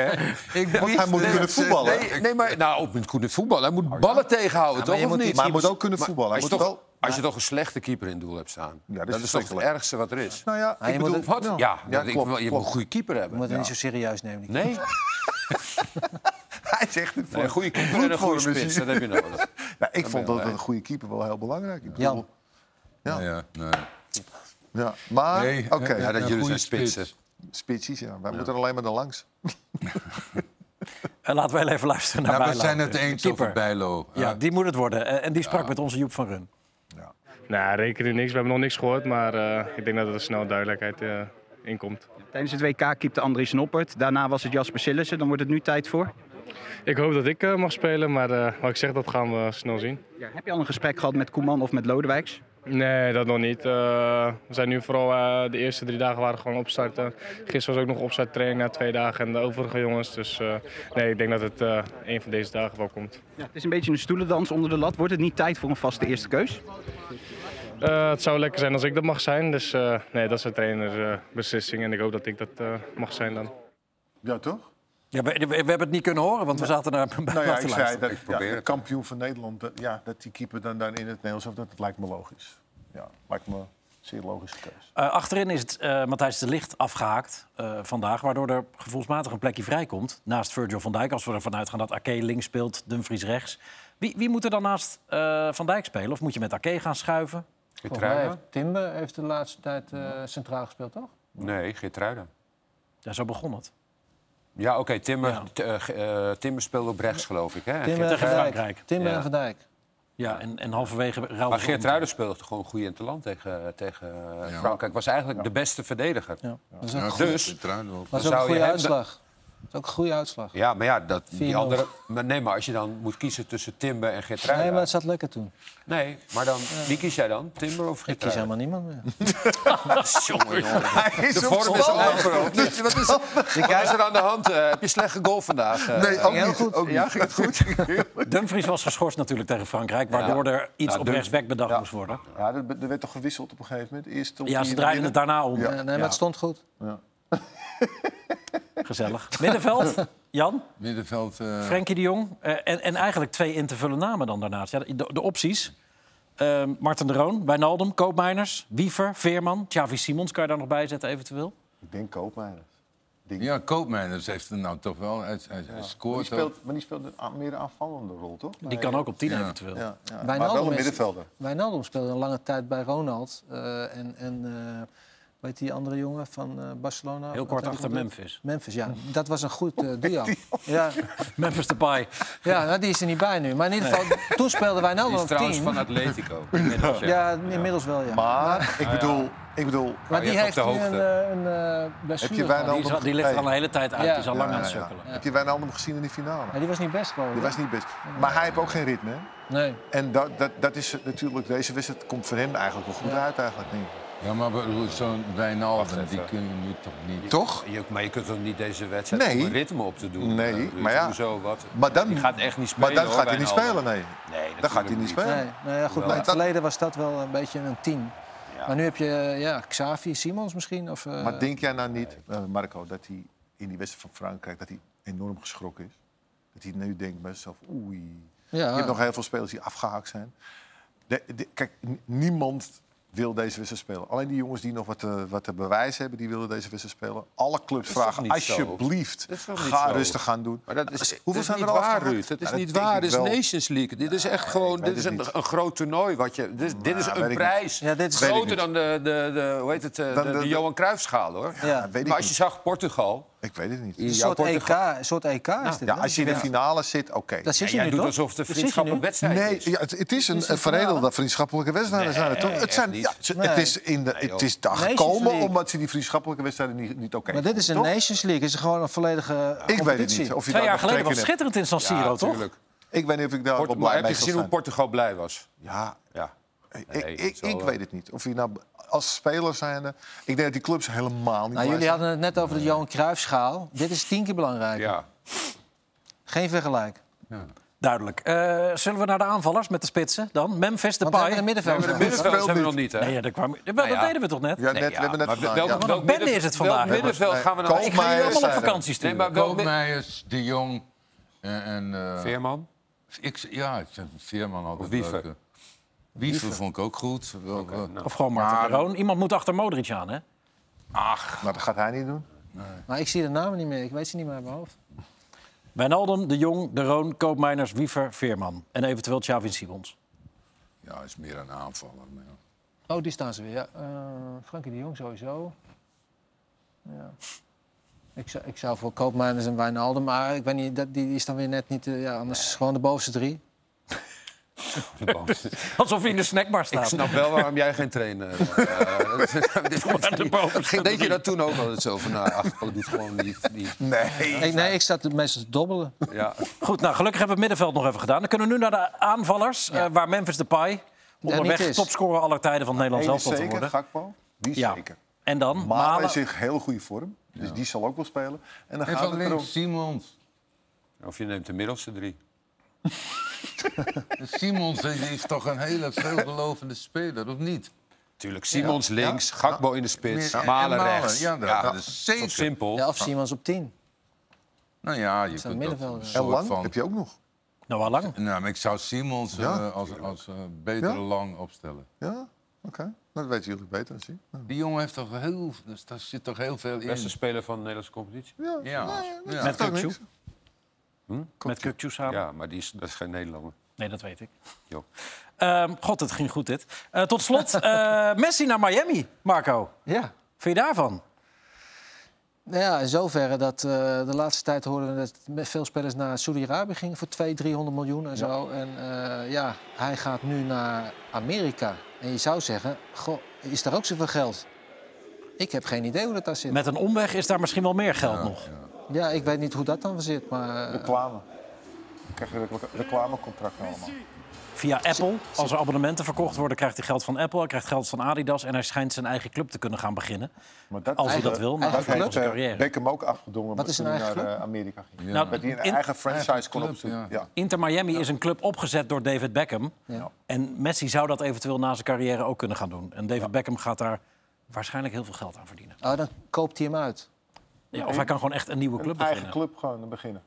S1: hè?
S6: Ik wist
S3: hij moet
S6: net-
S3: kunnen voetballen.
S6: Nee, nee, maar nou, op een goede voetbal. Hij moet ballen tegenhouden,
S3: maar
S6: toch?
S3: je
S6: Of
S3: moet-
S6: niet?
S3: maar hij moet ook kunnen voetballen. Hij
S6: is
S3: moet
S6: toch-
S3: wel-
S6: Als je toch een slechte keeper in doel hebt staan.
S3: Ja, dat
S6: dat,
S3: is
S6: is, toch het
S3: verschrikkelijk.
S6: ergste wat er is.
S3: Nou ja,
S2: je
S3: ik
S2: moet
S3: bedoel...
S2: het-
S6: Wat? Ja,
S3: Nou,
S6: dat- ik-
S3: klopt,
S6: je moet
S3: klopt.
S6: een goede keeper
S2: Je
S6: hebben.
S2: moet het niet zo serieus nemen. die
S6: Nee?
S3: Hij zegt het
S6: Nee, een goede keeper en een goede spits, dat heb je nodig.
S3: Nou, ik vond
S6: ben
S3: dat
S6: je
S3: een goede keeper wel heel belangrijk. Ik
S2: Jan.
S3: bedoel,
S4: Ja, ja, nee. Nou,
S3: ja. Maar,
S4: Nee,
S3: oké,
S4: eh,
S6: Ja,
S4: Een
S6: dat jullie zijn
S4: goede
S6: spitsen.
S4: spits.
S3: spitsjes, ja. Wij moeten alleen maar er langs.
S1: En Eh, laten we wel even luisteren naar
S4: Nou, we
S1: Bijlo.
S4: zijn het
S1: De
S4: eens
S1: keeper.
S4: over Bijlo.
S1: Ja, die moet het worden. Eh, En die sprak met onze Joep van Run.
S11: Nou, rekenen niks. We hebben nog niks gehoord, maar eh, ik denk dat er snel duidelijkheid eh inkomt.
S12: Tijdens het WK keepte Andries Noppert. Daarna was het Jasper Sillissen. Dan wordt het nu tijd voor.
S11: Ik hoop dat ik eh, mag spelen, maar eh, wat ik zeg, dat gaan we snel zien.
S12: Heb je al een gesprek gehad met Koeman of met Lodewijks?
S11: Nee, dat nog niet. Eh, we zijn nu vooral eh, de eerste drie dagen waren gewoon opstarten. Gisteren was ook nog opstarttraining na twee dagen en de overige jongens. Dus eh, nee, ik denk dat het eh een van deze dagen wel komt.
S12: Het is een beetje een stoelendans onder de lat. Wordt het niet tijd voor een vaste eerste keus?
S11: Eh, het zou lekker zijn als ik dat mag zijn. Dus eh, nee, dat is de trainersbeslissing en ik hoop dat ik dat eh, mag zijn dan.
S3: Ja, toch?
S1: Ja, we, we- we hebben het niet kunnen horen, want we zaten naar bij
S3: Nou ja,
S1: te
S3: ik zei
S1: luisteren.
S3: dat ja,
S6: probeer
S3: de
S6: het.
S3: kampioen van Nederland, dat, ja, dat die keeper dan, dan in het Nederlands of dat, dat lijkt me logisch. Ja, lijkt me een zeer logische keus.
S1: Eh, achterin is het eh, Matthijs de Licht afgehaakt eh, vandaag... waardoor er gevoelsmatig een plekje vrijkomt naast Virgil van Dijk... als we ervan uitgaan dat Ake links speelt, Dumfries rechts. Wie, wie moet er dan naast eh, Van Dijk spelen? Of moet je met Ake gaan schuiven?
S2: Volgens mij heeft
S6: Geertruida?
S2: Timber heeft de laatste tijd eh, centraal gespeeld, toch?
S6: Nee, Geertruida.
S1: Ja, zo begon het.
S6: Ja, oké, Timmer,
S1: Ja.
S6: t- eh, ge- eh, Timmer speelde op rechts, geloof ik. Hè? En
S2: Timber en
S1: tegen
S2: Van Dijk.
S1: Frankrijk.
S2: Timber
S6: Ja.
S2: en Van Dijk.
S1: Ja, en, en halverwege...
S6: Maar Geert Ruiden speelde gewoon goed in het land tegen, tegen eh, Frankrijk. Was eigenlijk de beste verdediger.
S2: Ja. Dat is ook,
S4: Ja,
S2: dat
S6: Dus-
S4: de trui op.
S2: is
S6: zou
S2: ook een
S6: je
S2: goede
S6: hem-
S2: uitslag. Dat is ook een goede uitslag.
S6: Ja, maar ja, dat, die
S2: 4-0.
S6: andere. Maar nee, maar als je dan moet kiezen tussen Timber en Geertruida.
S2: Nee, maar het zat lekker toen.
S6: Nee, maar dan, wie kies jij dan? Timber of
S2: Ik kies
S6: Geertruida?
S2: helemaal niemand meer.
S6: Jongen, jongen.
S3: Hij is
S6: De
S3: op
S6: vorm is
S3: stand.
S6: al veranderd. Dus, Wat is, wat is er aan de hand? eh? heb je slecht gegolf vandaag? eh?
S3: Nee, ook niet.
S6: goed.
S3: Ook niet.
S6: Ja, ging het goed?
S1: Dumfries was geschorst natuurlijk tegen Frankrijk... waardoor er iets
S6: Nou,
S1: op
S6: Dumf-
S1: rechtsback bedacht moest worden.
S3: Ja, er, er werd toch gewisseld op een gegeven moment? Eerst om
S1: Ja, ze
S3: hier
S1: draaiden het
S3: binnen.
S1: daarna om.
S2: Eh, nee, maar het stond goed.
S1: Gezellig. Middenveld, Jan,
S4: Middenveld. eh,
S1: Frenkie de Jong. eh, en, en eigenlijk twee in te vullen namen dan daarnaast. Ja, de, de opties. Eh, Marten de Roon, Wijnaldum, Koopmeiners, Wiever, Veerman, Xavi Simons kan je daar nog bij zetten eventueel.
S3: Ik denk Koopmeiners.
S4: ja, Koopmeiners heeft er nou toch wel. Hij, hij, hij
S3: Maar die
S4: scoort ook.
S3: speelt, maar die speelt een a- meer een aanvallende rol, toch?
S1: Die kan ook op 10 eventueel.
S3: Ja, ja. Maar
S2: Wijnaldum
S3: wel een
S2: is-
S3: middenvelder.
S2: Wijnaldum speelde een lange tijd bij Ronald. eh, en en weet die andere jongen van eh, Barcelona?
S1: Heel
S2: Wat
S1: kort
S2: heb
S1: achter
S2: ik nog?
S1: Memphis.
S2: Memphis, ja. Dat was een goed
S3: Oh,
S2: eh, duo. Ja,
S1: Memphis Depay.
S2: ja nou, die is er niet bij nu. Maar in ieder geval, toen speelden
S6: Eh, Die
S2: Wijnaldum
S6: is
S2: op
S6: trouwens van
S2: 10.
S6: Atletico. inmiddels, ja.
S2: Ja, inmiddels wel, ja. Maar,
S3: Maar ik bedoel, ik bedoel
S2: die
S6: jij is
S2: heeft nu
S6: op de
S2: een,
S6: hoogte.
S2: eh, een eh, blessure
S3: Heb je Wijnaldum-
S2: gehad.
S1: Die, is al- die ligt er al een hele tijd uit.
S2: Ja.
S1: Die is al lang
S3: Ja,
S1: aan het
S3: ja, ja.
S1: sukkelen.
S3: Heb je Wijnaldum gezien in die finale?
S2: Ja, die was niet best, geloof ik.
S3: Die was niet best. Maar hij heeft ook geen ritme. hè?
S2: Nee.
S3: En dat, dat, dat is natuurlijk, deze wedstrijd komt voor hem eigenlijk wel goed uit eigenlijk. Denk ik.
S4: Ja, maar we- zo'n Wijnaldum, die kun je nu toch niet...
S3: Toch?
S6: Je, maar je kunt toch niet deze wedstrijd
S3: Nee.
S6: om een ritme op te doen?
S3: Nee,
S6: Eh, dus
S3: maar ja.
S6: Hoezo, wat?
S3: Maar dan,
S6: Die gaat echt niet
S3: maar
S6: spelen.
S3: dan
S6: hoor,
S3: gaat hij niet
S6: Wijnaldum.
S3: spelen, nee.
S6: Nee,
S3: Dan gaat hij
S6: natuurlijk
S3: niet spelen.
S2: Nee, nou ja, goed, maar in het
S3: dat-
S2: verleden was dat wel een beetje een team. Maar nu heb je eh, ja, Xavi, Simons misschien. Of, eh,
S3: Maar denk jij nou niet, eh, Marco, dat hij in die wedstrijd van Frankrijk dat hij enorm geschrokken is? Dat hij nu denkt bij zichzelf, oei.
S2: ja,
S3: Je
S6: Ah.
S3: hebt nog heel veel spelers die afgehaakt zijn. De- de- kijk, n- niemand wil deze wedstrijd spelen. Alleen die jongens die nog wat te, wat te bewijzen hebben, die willen deze wedstrijd spelen. Alle clubs
S6: toch
S3: vragen,
S6: niet zo?
S3: alsjeblieft,
S6: Dat is toch niet
S3: ga
S6: zo?
S3: rustig gaan doen.
S6: Maar dat is,
S3: Dus Hoeveel
S6: dat is
S3: zijn er
S6: niet
S3: al
S6: waar,
S3: afgehaakt?
S6: Ruud. Dat is
S3: Ja, dat
S6: niet
S3: denk
S6: waar.
S3: ik
S6: Dit is
S3: wel.
S6: Nations League. Dit is echt
S3: ik
S6: gewoon
S3: weet
S6: dit is
S3: het
S6: een,
S3: niet.
S6: een groot toernooi. Wat je, dit, is- dit is
S3: weet ik
S6: een
S3: niet.
S6: prijs.
S2: Ja, dit is-
S3: Weet ik
S6: groter
S3: niet.
S6: dan de, de, de, hoe heet het,
S3: Dan
S6: eh, de,
S3: de-
S6: de
S3: de-
S6: Johan Cruijffschaal, hoor.
S2: Ja.
S3: weet ik
S6: maar als je
S3: niet.
S6: zag Portugal...
S3: Ik weet het niet.
S2: een
S6: jouw
S2: soort EK,
S6: Portugal-
S2: een soort EK is dit.
S3: Ja,
S2: hè?
S3: als je in de finale zit, oké.
S2: Daar zit je
S6: Jij
S2: nu,
S6: doet
S2: toch?
S6: alsof de
S2: Daar zit je
S6: vriendschap
S2: nu.
S6: een wedstrijd
S3: Nee,
S6: is.
S3: ja, het, het is een,
S2: is een
S3: een
S2: finale.
S3: verredelde vriendschappelijke wedstrijd. is dat toch?
S6: echt
S3: het, zijn,
S6: niet.
S3: ja, ze-
S2: Nee.
S3: het is, in de, het is daar
S2: Nations
S3: gekomen
S2: League.
S3: omdat ze die vriendschappelijke wedstrijden niet, niet oké
S2: Maar dit is een
S3: vonden, toch?
S2: Nations League. Is gewoon een volledige eh,
S3: Ik weet het
S2: competitie.
S3: niet. Of je
S1: Twee
S3: daar
S1: jaar
S3: nog trek in
S1: geleden was het
S3: hebt.
S1: schitterend in San Siro, toch?
S6: tuurlijk.
S3: Ik weet niet of ik daar wel
S6: Portugal-
S3: blij
S6: heb
S3: mee
S6: je
S3: zal
S6: gezien hoe
S3: zijn.
S6: Portugal blij was?
S3: Ja,
S6: Ja.
S3: ik,
S6: Nee,
S3: ik,
S6: zo,
S3: ik
S6: eh.
S3: weet het niet. Of je nou als speler zijnde... Ik denk dat die clubs helemaal niet
S2: Nou,
S3: blij
S2: jullie
S3: zijn.
S2: hadden het net over de Johan Cruijffschaal. Dit is tien keer belangrijk.
S6: ja.
S2: Geen vergelijk.
S1: Duidelijk. Eh, zullen we naar de aanvallers met de spitsen dan? Memphis
S2: Want we hebben
S1: Depay.
S2: een
S6: We hebben
S2: middenveld.
S6: de
S2: gehad.
S6: middenveld hebben we nog niet, hè?
S1: Nee, ja, daar kwam... Wel, dat
S6: ja.
S1: deden we toch net?
S3: Ja, net, we hebben net
S6: maar
S3: gedaan,
S6: welk-
S3: ja.
S1: Wat een bende
S6: midden-
S1: is het vandaag,
S6: Welk
S1: hè?
S6: middenveld gaan we nou...
S1: Ik ga jullie allemaal op vakantie
S6: Nee,
S1: sturen.
S6: maar wel mid-
S4: Koopmeijers, De Jong en... en eh,
S6: Veerman?
S4: ik, ja, ik vind Veerman altijd
S6: Of Wiever. nou.
S4: leuker. Wiever vond ik ook goed. Wel- wel-
S1: Of gewoon Martin Verhoon. Iemand moet achter Modric aan, hè?
S3: Maar dat gaat hij niet doen.
S2: Maar ik zie de namen niet meer. Ik weet ze niet meer uit mijn hoofd.
S1: Wijnaldum, De Jong, De Roon, Koopmeiners, Wiever, Veerman. En eventueel Xavi Simons.
S4: Ja, is meer een aanvaller. Maar ja.
S2: Oh, die staan ze weer. Ja. Eh, Frankie de Jong sowieso. Ja. Ik, zou, ik zou voor Koopmeiners en Wijnaldum, maar ik weet niet, dat, die is dan weer net niet... eh, ja, anders gewoon de bovenste drie.
S1: Alsof hij in de snackbar
S6: Ik
S1: staat.
S6: snap wel waarom jij geen trainer eh, bent. Deed je dat toen ook altijd zo van, nou, ach, doet gewoon niet. niet.
S2: Nee, ik, nee, ik zat meestal te dobbelen.
S6: Ja.
S1: Goed, nou gelukkig hebben we het middenveld nog even gedaan. Dan kunnen we nu naar de aanvallers, eh, waar Memphis Depay
S2: niet
S1: onderweg
S2: is.
S1: topscorer aller tijden van het
S3: Eén
S1: Nederlands
S3: is
S1: elftal te
S3: zeker,
S1: worden.
S3: Gakpo. Die is
S1: Ja.
S3: zeker.
S1: En dan
S3: Malen
S1: Malen.
S3: is in heel goede vorm. Dus die zal ook wel spelen. En dan
S4: En
S3: gaat
S4: van
S3: het erom.
S4: links, Simons.
S6: Of je neemt de middelste drie.
S4: Simons die is toch een hele veelbelovende speler, of niet?
S6: Tuurlijk, Simons links, Gakbo in de spits,
S4: Meer- en-
S6: Malen
S4: en Malen,
S6: rechts.
S4: ja, dat- dat is
S6: toch
S4: zeker.
S6: simpel.
S2: Ja, of Simons op tien.
S4: Nou ja, je
S2: Zo'n
S4: kunt dat
S2: middenvelder.
S4: een
S3: En
S4: soort
S3: lang
S4: van...
S3: heb je ook nog.
S1: Nou, al lang.
S4: Nou, maar ik zou Simons eh,
S3: Ja,
S4: als, als eh, betere
S3: Ja?
S4: lang opstellen.
S3: Ja, oké. Nou, Dat weten jullie beter dan ik.
S4: Die jongen heeft toch heel, dus daar zit toch heel veel in.
S6: Beste speler van de Nederlandse competitie.
S3: Ja,
S4: Ja.
S3: dat
S4: Ja.
S3: zegt
S1: Met
S3: ook
S1: Kukçu.
S3: niks.
S1: Met Kukçu samen.
S6: Ja, maar die is, dat is geen Nederlander.
S1: Nee, dat weet ik.
S6: Jo.
S1: Ehm, God, het ging goed dit. Eh, tot slot, eh, Messi naar Miami, Marco.
S2: Ja.
S1: Vind je daarvan?
S2: Nou ja, in zoverre dat eh, de laatste tijd hoorden we dat me- veel spelers naar Saudi-Arabië gingen voor 200, 300 miljoen en zo. En eh, ja, hij gaat nu naar Amerika. En je zou zeggen, goh, is daar ook zoveel geld? Ik heb geen idee hoe dat daar zit.
S1: Met een omweg is daar misschien wel meer geld nog.
S2: Ja, ik weet niet hoe dat dan zit, maar... eh,
S3: Reclame. Dan krijg je recla- reclamecontracten allemaal.
S1: Via Apple. Als er abonnementen verkocht worden, krijgt hij geld van Apple. Hij krijgt geld van Adidas. En hij schijnt zijn eigen club te kunnen gaan beginnen.
S3: Maar dat,
S1: Als hij dat
S3: eh,
S1: wil, maar
S3: dat
S1: dat heeft
S3: heeft
S1: onze
S3: eh,
S1: carrière.
S3: Beckham ook afgedongen
S2: Wat is
S3: toen
S2: een
S3: hij naar
S2: eigen club?
S3: eh, Amerika ging.
S4: Ja.
S3: Dat hij een
S1: in-
S3: eigen franchise kon
S4: club,
S3: opzoeken.
S4: ja.
S3: Ja.
S1: Inter Miami is een club opgezet door David Beckham. En Messi zou dat eventueel na zijn carrière ook kunnen gaan doen. En David Beckham gaat daar waarschijnlijk heel veel geld aan verdienen.
S2: Oh, dan koopt hij hem uit.
S1: Ja, of hij kan gewoon echt een nieuwe club
S3: Een eigen
S1: beginnen.
S3: club gewoon beginnen.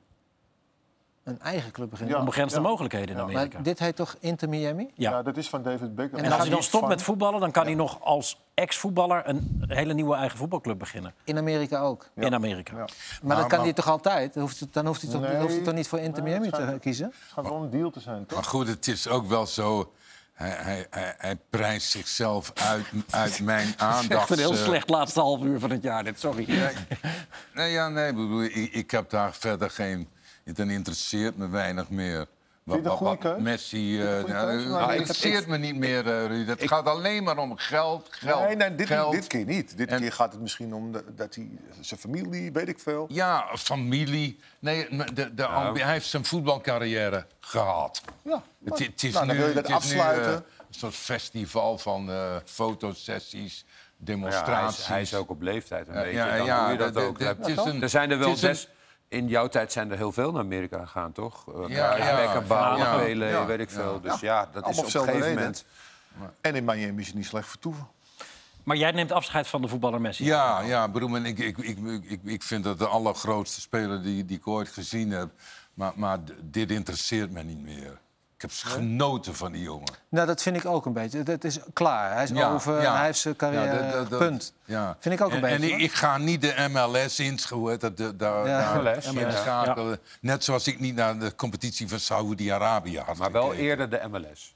S2: Een eigen club beginnen.
S3: Ja.
S1: Onbegrensde mogelijkheden in Amerika.
S2: Maar dit heet toch Inter Miami?
S1: Ja.
S3: Ja. dat is van David Beckham.
S1: En als hij dan
S3: niet
S1: stopt
S3: van-
S1: met voetballen, dan kan hij nog als ex-voetballer een hele nieuwe eigen voetbalclub beginnen.
S2: In Amerika ook.
S1: In Amerika.
S3: Ja.
S2: Maar dat kan hij toch altijd? Dan hoeft hij, dan hoeft hij, toch,
S3: Nou, Nee.
S2: hoeft hij toch niet voor Inter
S3: Nee,
S2: Miami
S3: dat
S2: te
S3: zou-
S2: kiezen?
S3: Het gaat wel een deal te zijn, toch?
S4: Maar goed, het is ook wel zo. Hij, hij, hij, hij prijst zichzelf uit, uit mijn aandacht.
S1: Echt een heel
S4: eh,
S1: slecht laatste half uur van het jaar, dit, sorry.
S4: Nee, ja, nee, ik bedoel, ik, ik heb daar verder geen... Dan interesseert me weinig meer. Wat,
S3: je het een goede keus?
S4: Messi... eh,
S3: goede
S4: nou,
S3: keus?
S4: eh,
S3: Maar
S4: het
S3: ik-
S4: interesseert me niet meer, eh, Ruud. Het gaat alleen maar om geld, geld,
S3: nee, nee dit,
S4: geld.
S3: dit keer niet. Dit
S4: En-
S3: keer gaat het misschien om de- dat hij zijn familie, weet ik veel.
S4: Ja, familie. Nee, maar de, de ambi- hij heeft zijn voetbalcarrière gehad.
S3: Ja,
S4: Het, het is
S3: nou, dan
S4: nu,
S3: wil je dat
S4: het is nu,
S3: afsluiten.
S4: eh, een soort festival van eh, fotosessies,
S6: Ja, hij,
S4: demonstraties.
S6: is, hij is ook op leeftijd een
S4: Ja,
S6: beetje.
S4: ja,
S6: dan
S4: ja,
S6: doe je dat
S4: dat-
S6: ook.
S4: dat-
S6: Hij-
S4: dat is een-
S6: er zijn er wel
S4: het is een-
S6: best... In jouw tijd zijn er heel veel naar Amerika gegaan, toch? Eh,
S4: Ja, ja,
S6: Beckham, Balen,
S4: ja,
S6: Pele,
S4: ja,
S6: weet ik veel. Dus ja, dat is
S3: Allemaal
S6: op een
S3: dezelfde
S6: gegeven
S3: reden.
S6: moment...
S3: En in Miami is het niet slecht vertoeven.
S1: Maar jij neemt afscheid van de voetballer Messi.
S4: Ja, ja, Broemen, ik, ik, ik, ik, ik vind dat de allergrootste speler die, die ik ooit gezien heb. Maar, maar d- dit interesseert me niet meer. Ik heb genoten van die jongen.
S2: Nou, dat vind ik ook een beetje. Dat is klaar. Hij is
S4: Ja,
S2: over,
S4: ja.
S2: hij heeft zijn carrière.
S4: Ja, dat- dat-
S2: punt.
S4: Ja.
S2: Vind ik ook een
S4: en,
S2: beetje.
S4: En ik, ik ga niet de MLS inschakelen. Dat, dat, daar,
S2: Ja,
S4: daar
S6: MLS,
S4: in
S6: ja.
S4: schakelen. Net zoals ik niet naar de competitie van Saoedi-Arabië had
S6: Maar wel
S4: gekeken.
S6: eerder de MLS.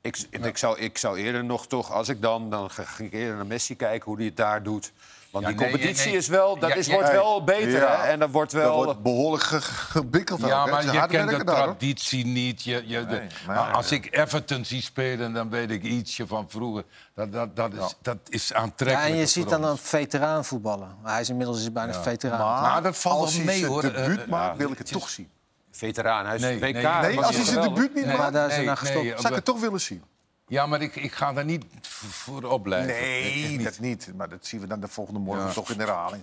S6: Ik, ik, zou, ik zou eerder nog toch, als ik dan, dan ga- ging ik eerder naar Messi kijken hoe hij het daar doet. Want
S4: Ja,
S6: die
S4: nee,
S6: competitie
S4: nee, nee.
S6: is wel, dat
S4: Ja,
S6: is,
S4: ja,
S6: wordt
S4: hey.
S6: wel beter.
S3: Ja.
S6: hè? En dat wordt
S3: Dat
S6: wel.
S3: wordt behoorlijk ge- gebikkeld.
S4: Ja,
S3: ook, hè. Het
S4: maar
S3: is
S4: je
S3: hard
S4: kent de
S3: werken daar, hoor.
S4: traditie niet. Je, je, de-
S3: maar-
S4: maar als ik Everton zie spelen, dan weet ik ietsje van vroeger. Dat, dat, dat, is, dat is
S2: Ja,
S4: aantrekkelijk.
S2: en je ziet dan een veteraan voetballen. Hij is inmiddels is bijna een veteraan.
S4: Maar dat valt
S3: Als
S4: wel
S3: hij
S4: mee,
S3: zijn
S4: hoor.
S3: debuut
S4: Eh,
S3: maakt, wil ik het toch zien.
S6: veteraan, hij is
S4: Nee,
S6: WK.
S4: nee,
S6: dat
S4: nee,
S3: Nee,
S6: was
S3: als hij zijn
S6: geweldig.
S3: debuut niet
S4: Nee,
S2: maar
S3: maakt,
S2: daar is hij
S4: nee,
S2: naar
S4: nee,
S2: gestopt.
S4: eh,
S3: zou ik het toch willen zien.
S4: Ja, maar ik, ik ga daar niet v- voor opleiden.
S3: Nee, dat niet. Maar dat zien we dan de volgende morgen toch in de herhaling.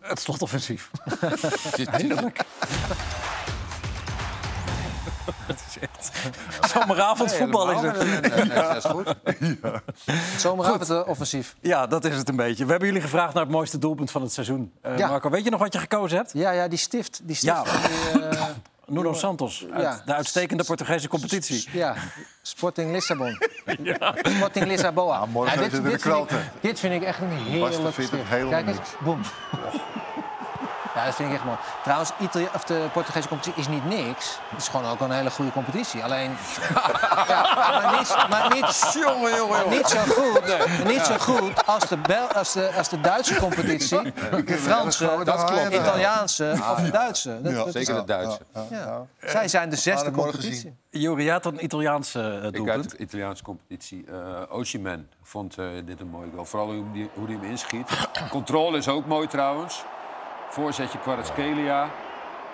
S1: Het slotoffensief.
S4: Eindelijk.
S1: Zomeravond voetbal is het.
S6: Nee, nee, nee, dat is goed.
S2: Zomeravond eh, offensief.
S1: Ja, dat is het een beetje. We hebben jullie gevraagd naar het mooiste doelpunt van het seizoen. Eh,
S2: Ja.
S1: Marco, weet je nog wat je gekozen hebt?
S2: Ja, ja, die stift. Die stift
S1: Ja.
S2: die, eh,
S1: Nuno Santos, uit
S2: Ja.
S1: de uitstekende Portugese competitie.
S2: Ja, Sporting Lissabon. Sporting Lissaboa.
S3: Ah, morgen
S2: Ja,
S3: zitten de
S2: vind ik,
S3: kwelten.
S2: dit vind ik echt een
S3: Bas de
S2: heerlijk
S3: Fit
S2: stuk.
S3: heeft helemaal
S2: Kijk eens,
S3: niks. Oh.
S2: boem. Ja, dat vind ik echt mooi. Trouwens, Itali of de Portugese competitie is niet niks. Het is gewoon ook een hele goede competitie. Alleen, ja, maar niet, maar niet, maar niet zo goed, niet zo goed als, de Bel als, de, als de Duitse competitie. De
S4: eh,
S2: Franse,
S3: Dat klopt.
S2: de Italiaanse of de Duitse. Dat- dat is-
S6: Zeker de Duitse.
S2: ja. Zij zijn de zesde
S3: Hadden we morgen
S2: competitie.
S1: Jury had een Italiaanse eh,
S6: Ik uit
S1: doelpunt.
S6: de Italiaanse competitie. eh Osimhen vond eh, dit een mooi goal. Vooral hoe die- hoe hij hem inschiet. Controle is ook mooi trouwens. Voorzetje Kvaratskhelia.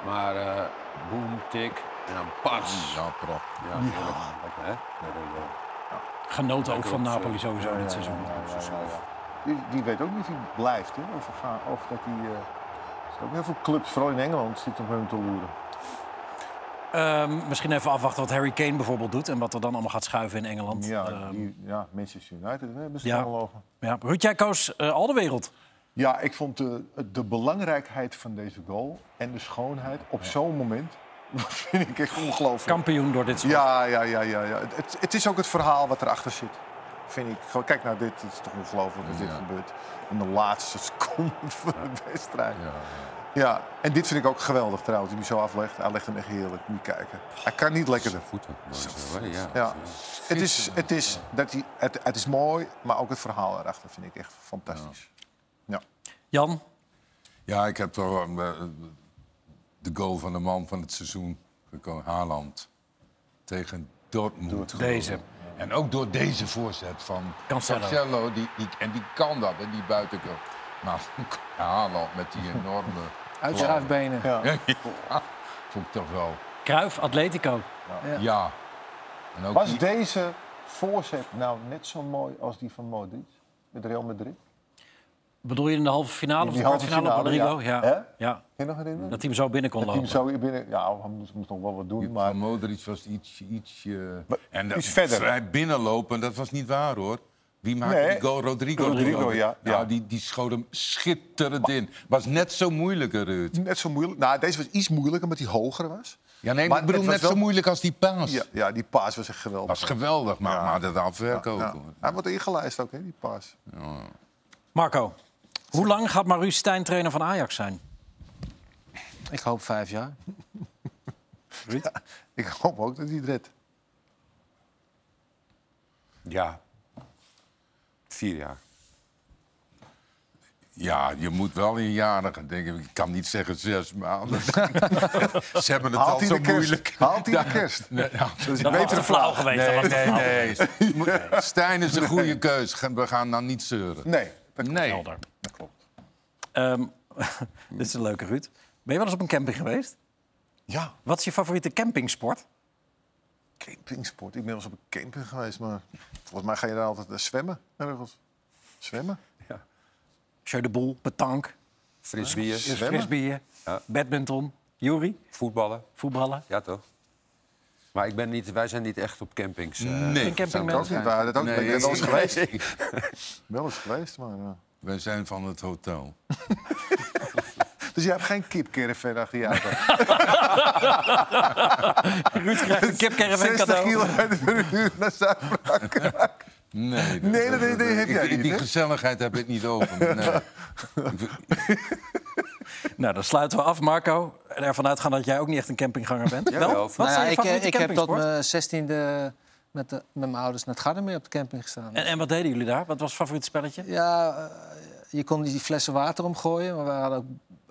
S6: Maar eh boom, tik en dan pas.
S4: Ja, prachtig.
S6: Ja, heerlijk. Lekker, hè? Lekker, eh,
S1: Genoten ook van
S6: op, eh,
S1: Napoli sowieso dit seizoen.
S3: Die, die weet ook niet of hij blijft, hè? Of, hij gaat- of dat hij... eh, er zijn ook heel veel clubs, vooral in Engeland, zitten op hem te loeren.
S1: Ehm, misschien even afwachten wat Harry Kane bijvoorbeeld doet... en wat er dan allemaal gaat schuiven in Engeland.
S3: Ja,
S1: Ehm,
S3: die- ja, Manchester United hè, hebben ze
S1: ja.
S3: allemaal over.
S1: ja. Ruud, jij koos eh, al de wereld.
S3: Ja, ik vond de, de belangrijkheid van deze goal en de schoonheid op zo'n moment... vind ik echt ongelooflijk.
S1: Kampioen door dit seizoen.
S3: Ja, ja, ja, ja. ja. Het- Het, het is ook het verhaal wat erachter zit. Vind ik. Gewoon, Kijk nou, dit het is toch ongelooflijk dat dit gebeurt. In de laatste seconde van de wedstrijd. Ja, en dit vind ik ook geweldig trouwens, die hij zo aflegt. Hij legt hem echt heerlijk, moet je kijken. Hij kan niet lekkerder.
S6: Goed ook mooi zo, hè? Ja.
S3: Ja. Het, is, het, is, dat hij, het, het is mooi, maar ook het verhaal erachter vind ik echt fantastisch. Ja.
S1: Jan,
S4: Ja, ik heb toch eh, de goal van de man van het seizoen gekozen. Haaland tegen Dortmund. gewonnen.
S1: deze.
S4: En ook door deze voorzet van
S1: Cancelo.
S4: Cancelo. Die, die, en die kan dat, hè, die buitenkant. Maar Haaland met die enorme...
S2: Uitschuifbenen.
S4: Ja, Vond ik toch wel.
S1: Kruif, Atletico.
S4: Ja. En ook
S3: Was
S4: die-
S3: deze voorzet nou net zo mooi als die van Modric? Met Real Madrid?
S1: Bedoel je in de halve finale of
S3: In
S1: de
S3: die
S1: halve
S3: halve
S1: finale?
S3: finale,
S1: Rodrigo,
S3: ja.
S1: ja.
S3: Hè?
S1: Ja.
S3: Kan je nog herinneren?
S1: Dat hij hem zo binnen kon
S3: Dat
S1: lopen.
S3: team zo binnen. Ja, hij moest, moest nog wel wat doen. Maar
S4: Maar Modric was iets... iets eh,
S3: Maar
S4: en dat
S3: iets verder.
S4: Vrij binnenlopen, dat was niet waar, hoor. Wie maakte
S3: Nee,
S4: die goal? Rodrigo.
S3: Rodrigo,
S4: geloof ik.
S3: ja, ja.
S4: die, die schoot hem schitterend in. Was net zo moeilijk, hè, Ruud.
S3: net zo moeilijk. Nou, deze was iets moeilijker omdat hij hoger was.
S4: Ja, nee, maar,
S3: Maar
S4: ik bedoel
S3: het was
S4: net zo
S3: wel-
S4: moeilijk als die paas.
S3: Ja, ja die paas was echt geweldig.
S4: Dat is geweldig, maar, maar dat afwerk ook.
S3: Ja.
S4: hoor.
S3: Hij wordt ingelijst ook, hè, die paas.
S1: Marco, hoe lang gaat Maurice Stijn trainer van Ajax zijn?
S2: Ik hoop vijf jaar.
S3: Ik hoop ook dat hij het redt.
S6: ja. Vier jaar.
S4: Ja, je moet wel in jaren denken. Ik kan niet zeggen zes maanden. Ze hebben het al
S3: Haalt hij
S4: zo
S3: de kerst?
S4: moeilijk.
S3: Haalt hij de kerst?
S4: Nee, nou,
S3: Dat is
S1: Dat was te
S3: beter.
S1: flauw geweest. dat
S4: nee,
S1: was te
S4: nee,
S1: flauw.
S4: nee. Je moet- Stijn is een goede keus. Ga- We gaan nou niet zeuren.
S3: Nee.
S4: Nee.
S1: Helder. Ehm, dit is een leuke Ruud. Ben je wel eens op een camping geweest?
S3: Ja,
S1: Wat is je favoriete campingsport?
S3: campingsport. Ik ben wel eens op een camping geweest, maar volgens mij ga je daar altijd eh, zwemmen. Ergens. Zwemmen?
S1: Jeu de boel, petank,
S6: Frisbeeën,
S1: frisbeeën, badminton, jury,
S6: voetballen.
S1: voetballen.
S6: Ja, toch? Maar ik ben niet, wij zijn niet echt op campings. eh.
S1: Een
S4: Nee.
S3: Dat ook
S1: campingmens.
S3: niet. waar. Dat ook niet.
S4: Nee,
S3: Ik ben wel eens
S4: ik-
S3: geweest. Wel eens geweest, maar... eh. ja.
S4: We zijn van het hotel.
S3: Dus je hebt geen kipcaravan achter je auto?
S1: Ruud krijgt een kipcaravan
S3: 60
S1: cadeau.
S3: kilometer per uur naar Zuid-Frankrijk.
S4: Nee, dat,
S3: Nee, dat- dat- dat heb
S4: ik-
S3: jij
S4: die,
S3: niet, hè?
S4: gezelligheid heb ik niet over. me, Nee.
S1: Nou, dan sluiten we af, Marco. En ervan uitgaan dat jij ook niet echt een campingganger bent.
S6: Jawel.
S1: Wat zijn
S2: Nou ja,
S1: je
S2: ik, eh,
S1: favoriete
S2: ik heb tot
S1: campingsport?
S2: mijn zestiende met, de- met mijn ouders naar het Gardermeer op de camping gestaan.
S1: En, en wat deden jullie daar? Wat was het favoriete spelletje?
S2: Ja, eh, je kon die flessen water omgooien, maar we hadden ook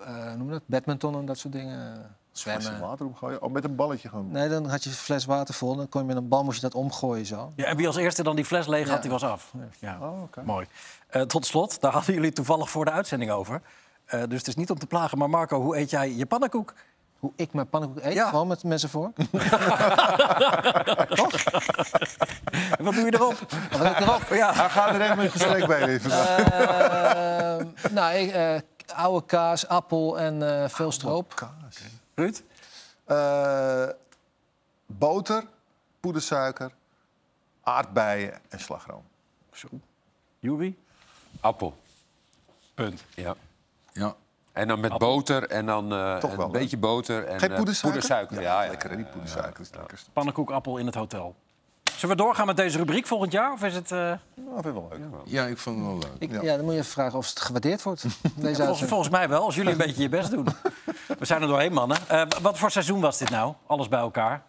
S2: eh noem je dat, badminton en dat soort dingen.
S3: Als je
S2: Zwemmen.
S3: water omgooien. Oh, met een balletje gewoon.
S2: Nee, dan had je een fles water vol en dan kon je met een bal moest je dat omgooien zo.
S1: Ja, en wie als eerste dan die fles leeg had,
S2: Ja. Oh,
S1: die was af. Ja, mooi. Eh, tot slot, daar hadden jullie toevallig voor de uitzending over. Eh, dus het is niet om te plagen, maar Marco, hoe eet jij je pannenkoek?
S2: Hoe ik mijn pannenkoek eet,
S1: Ja.
S2: gewoon met mensen voor.
S1: En wat doe je erop?
S2: Wat heb ik erop? Ah.
S1: ja.
S3: Hij gaat er echt met een gesprek bij in vandaag.
S2: Ehm, Eh, nou, ik, eh, oude kaas, appel en eh, veel stroop.
S1: Ruud?
S3: Eh, boter, poedersuiker, aardbeien en slagroom.
S1: Juri?
S6: Appel.
S1: Punt.
S6: Ja.
S4: Ja.
S6: En dan met boter en dan eh,
S3: Toch
S6: een
S3: wel, hè?
S6: beetje boter en
S3: Geen
S6: eh,
S3: poedersuiker?
S6: Ja, ja,
S3: lekker. hè? Die poedersuiker is het lekkerst.
S1: Pannenkoekappel in het hotel. Zullen we doorgaan met deze rubriek volgend jaar? Of is het, eh,
S3: Nou, vind ik wel leuk.
S4: Ja, ik vond het wel leuk.
S2: Ik,
S3: Ja.
S2: ja. dan moet je even vragen of het gewaardeerd wordt. Deze
S1: volgens,
S2: uitzending.
S1: volgens mij wel, als jullie een beetje je best doen. We zijn er doorheen, mannen. Eh, wat voor seizoen was dit nou? Alles bij elkaar.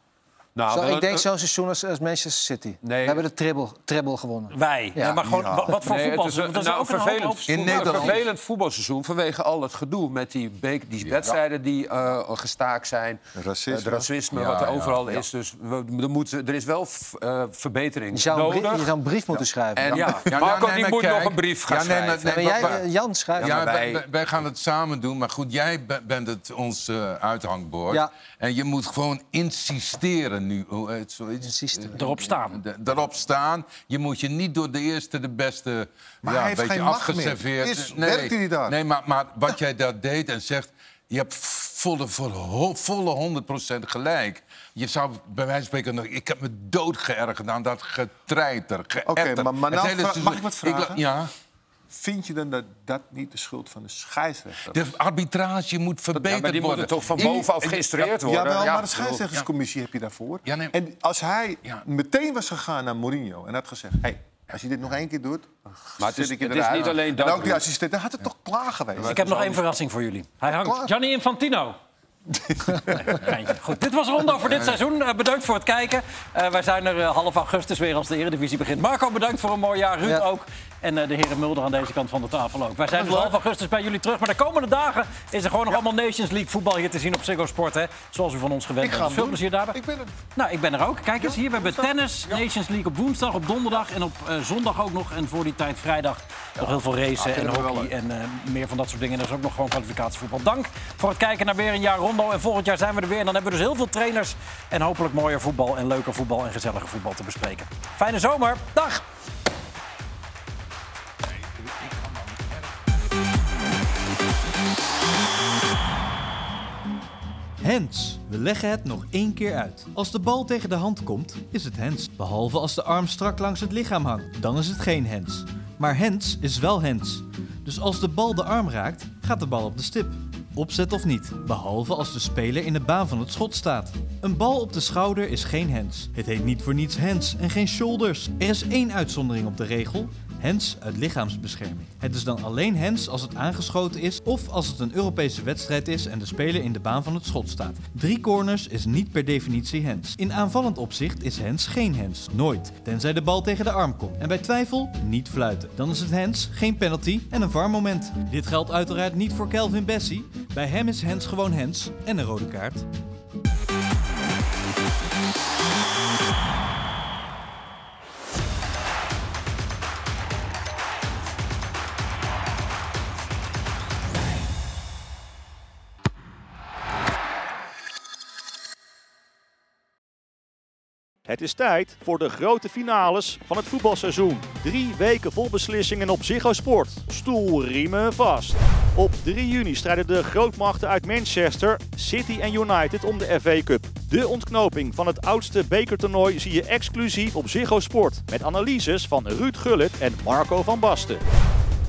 S6: Nou,
S2: Zo,
S6: wel
S2: ik denk
S6: een-
S2: zo'n seizoen als, als Manchester City.
S6: Nee.
S2: We hebben de treble, treble gewonnen.
S1: Wij.
S2: Ja.
S1: Nee, maar gewoon, wa- wat voor
S6: Nee, het
S1: voetbal?
S6: is een-
S1: Want dat is
S6: nou,
S1: ook een hoop
S6: vervelend.
S1: overspoel-
S4: In
S6: Nou,
S4: Nederland.
S6: een vervelend voetbalseizoen vanwege al het gedoe met die, beek, die wedstrijden die eh, gestaakt zijn.
S3: Racisme.
S6: Het racisme
S4: Ja,
S6: wat er
S4: ja,
S6: overal is. Dus we, er, moet, er is wel f- eh, verbetering
S2: Je zou een, brie-
S6: nodig.
S2: je zou een brief moeten schrijven.
S6: En
S2: Ja,
S6: ja,
S4: Ja, nou,
S6: Marco
S4: nee,
S6: die
S4: maar
S6: moet
S4: kijk.
S6: nog een brief gaan
S4: Ja, nee, maar-
S6: schrijven.
S4: nee,
S2: maar
S4: maar-
S2: jij,
S4: maar-
S2: eh, Jan schrijft.
S4: Ja,
S6: maar
S4: wij,
S6: wij-
S4: wij- wij gaan het samen doen. Maar goed, jij be- bent het, ons eh, uithangbord.
S2: Ja.
S4: En je moet gewoon insisteren nu. Hoe heet zoiets?
S2: Insisteren.
S1: Erop staan.
S4: Eh, d- Daarop staan. Je moet je niet door de eerste, de beste.
S3: Maar
S4: ja,
S3: hij
S4: een
S3: heeft
S4: beetje
S3: geen macht meer.
S4: afgeserveerd.
S3: Is- werkt hij daar?
S4: Nee, maar, maar wat jij daar deed en zegt. Je hebt volle, volle, volle 100% gelijk. Je zou bij wijze van spreken nog... Ik heb me dood geërgerd aan dat getreiter, geëtter.
S3: maar- maar
S4: Het
S3: nou
S4: hele
S3: vra-
S4: seizoen-
S3: mag ik wat
S4: la-
S3: vragen?
S4: ja.
S3: Vind je dan dat dat niet de schuld van de scheidsrechter
S4: De arbitrage moet verbeterd
S6: Ja, maar die
S4: worden.
S6: moeten toch van
S4: Ik-
S6: bovenaf geïnstrueerd
S3: Ja,
S6: worden?
S3: Jawel, maar
S6: eh, Ja,
S3: de
S6: ik bedoel-
S3: scheidsrechterscommissie heb je daarvoor.
S4: Ja, nee.
S3: En als hij
S4: Ja.
S3: meteen was gegaan naar Mourinho en had gezegd... Hey, als je dit nog één keer doet, maar
S6: het is-
S3: ik je
S6: het is
S3: eruit."
S6: niet alleen dat,
S3: En ook die
S6: hoor.
S3: assistent, dan had het toch klaar geweest.
S1: Ik heb nog één verrassing voor jullie. Hij hangt.
S3: Klaar.
S1: Gianni Infantino. Nee, geintje. Goed, dit was Rondo voor dit seizoen. Eh, bedankt voor het kijken. Eh, wij zijn er eh, half augustus weer als de Eredivisie begint. Marco, bedankt voor een mooi jaar. Ruud
S2: Ja.
S1: ook. En eh, de heren Mulder aan deze kant van de tafel ook. Wij zijn dus half augustus bij jullie terug. Maar de komende dagen is er gewoon nog allemaal Nations League voetbal hier te zien op Ziggo Sport. Hè? Zoals u van ons gewend
S3: Ik ga
S1: bent. Dus
S3: hem
S1: veel
S3: doen.
S1: plezier daarbij.
S3: Ik ben het.
S1: Nou, ik ben er ook. Kijk eens, hier we hebben tennis, Nations League op woensdag, op donderdag en op eh, zondag ook nog. En voor die tijd vrijdag nog heel veel racen en hockey en eh, meer van dat soort dingen. En er is ook nog gewoon kwalificatievoetbal. Dank voor het kijken naar weer een jaar Rondo. En volgend jaar zijn we er weer. En dan hebben we dus heel veel trainers en hopelijk mooier voetbal en leuker voetbal en gezelliger voetbal te bespreken. Fijne zomer. Dag!
S13: Hands. We leggen het nog één keer uit. Als de bal tegen de hand komt, is het hands. Behalve als de arm strak langs het lichaam hangt, dan is het geen hands. Maar hands is wel hands. Dus als de bal de arm raakt, gaat de bal op de stip. Opzet of niet, behalve als de speler in de baan van het schot staat. Een bal op de schouder is geen hands. Het heet niet voor niets hands en geen shoulders. Er is één uitzondering op de regel: hands uit lichaamsbescherming. Het is dan alleen hands als het aangeschoten is of als het een Europese wedstrijd is en de speler in de baan van het schot staat. Drie corners is niet per definitie hands. In aanvallend opzicht is hands geen hands, nooit, tenzij de bal tegen de arm komt. En bij twijfel niet fluiten. Dan is het hands, geen penalty en een VAR-moment. Dit geldt uiteraard niet voor Kelvin Bessie. Bij hem is hands gewoon hands en een rode kaart.
S12: Het is tijd voor de grote finales van het voetbalseizoen. Drie weken vol beslissingen op Ziggo Sport. Stoelriemen vast. Op 3 juni strijden de grootmachten uit Manchester, City en United om de FA Cup. De ontknoping van het oudste bekertoernooi zie je exclusief op Ziggo Sport. Met analyses van Ruud Gullit en Marco van Basten.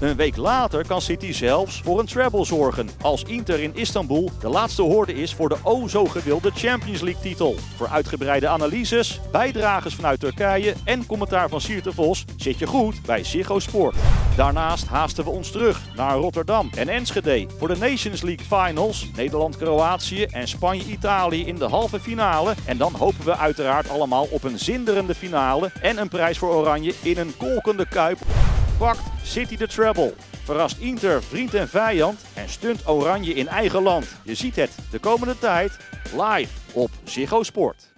S12: Een week later kan City zelfs voor een treble zorgen. Als Inter in Istanbul de laatste hoorde is voor de o zo gewilde Champions League titel. Voor uitgebreide analyses, bijdragers vanuit Turkije en commentaar van Sierte Vos zit je goed bij Ziggo Sport. Daarnaast haasten we ons terug naar Rotterdam en Enschede voor de Nations League Finals. Nederland-Kroatië en Spanje-Italië in de halve finale. En dan hopen we uiteraard allemaal op een zinderende finale en een prijs voor Oranje in een kolkende kuip pakt City de treble. Verrast Inter vriend en vijand en stunt Oranje in eigen land. Je ziet het de komende tijd live op Ziggo Sport.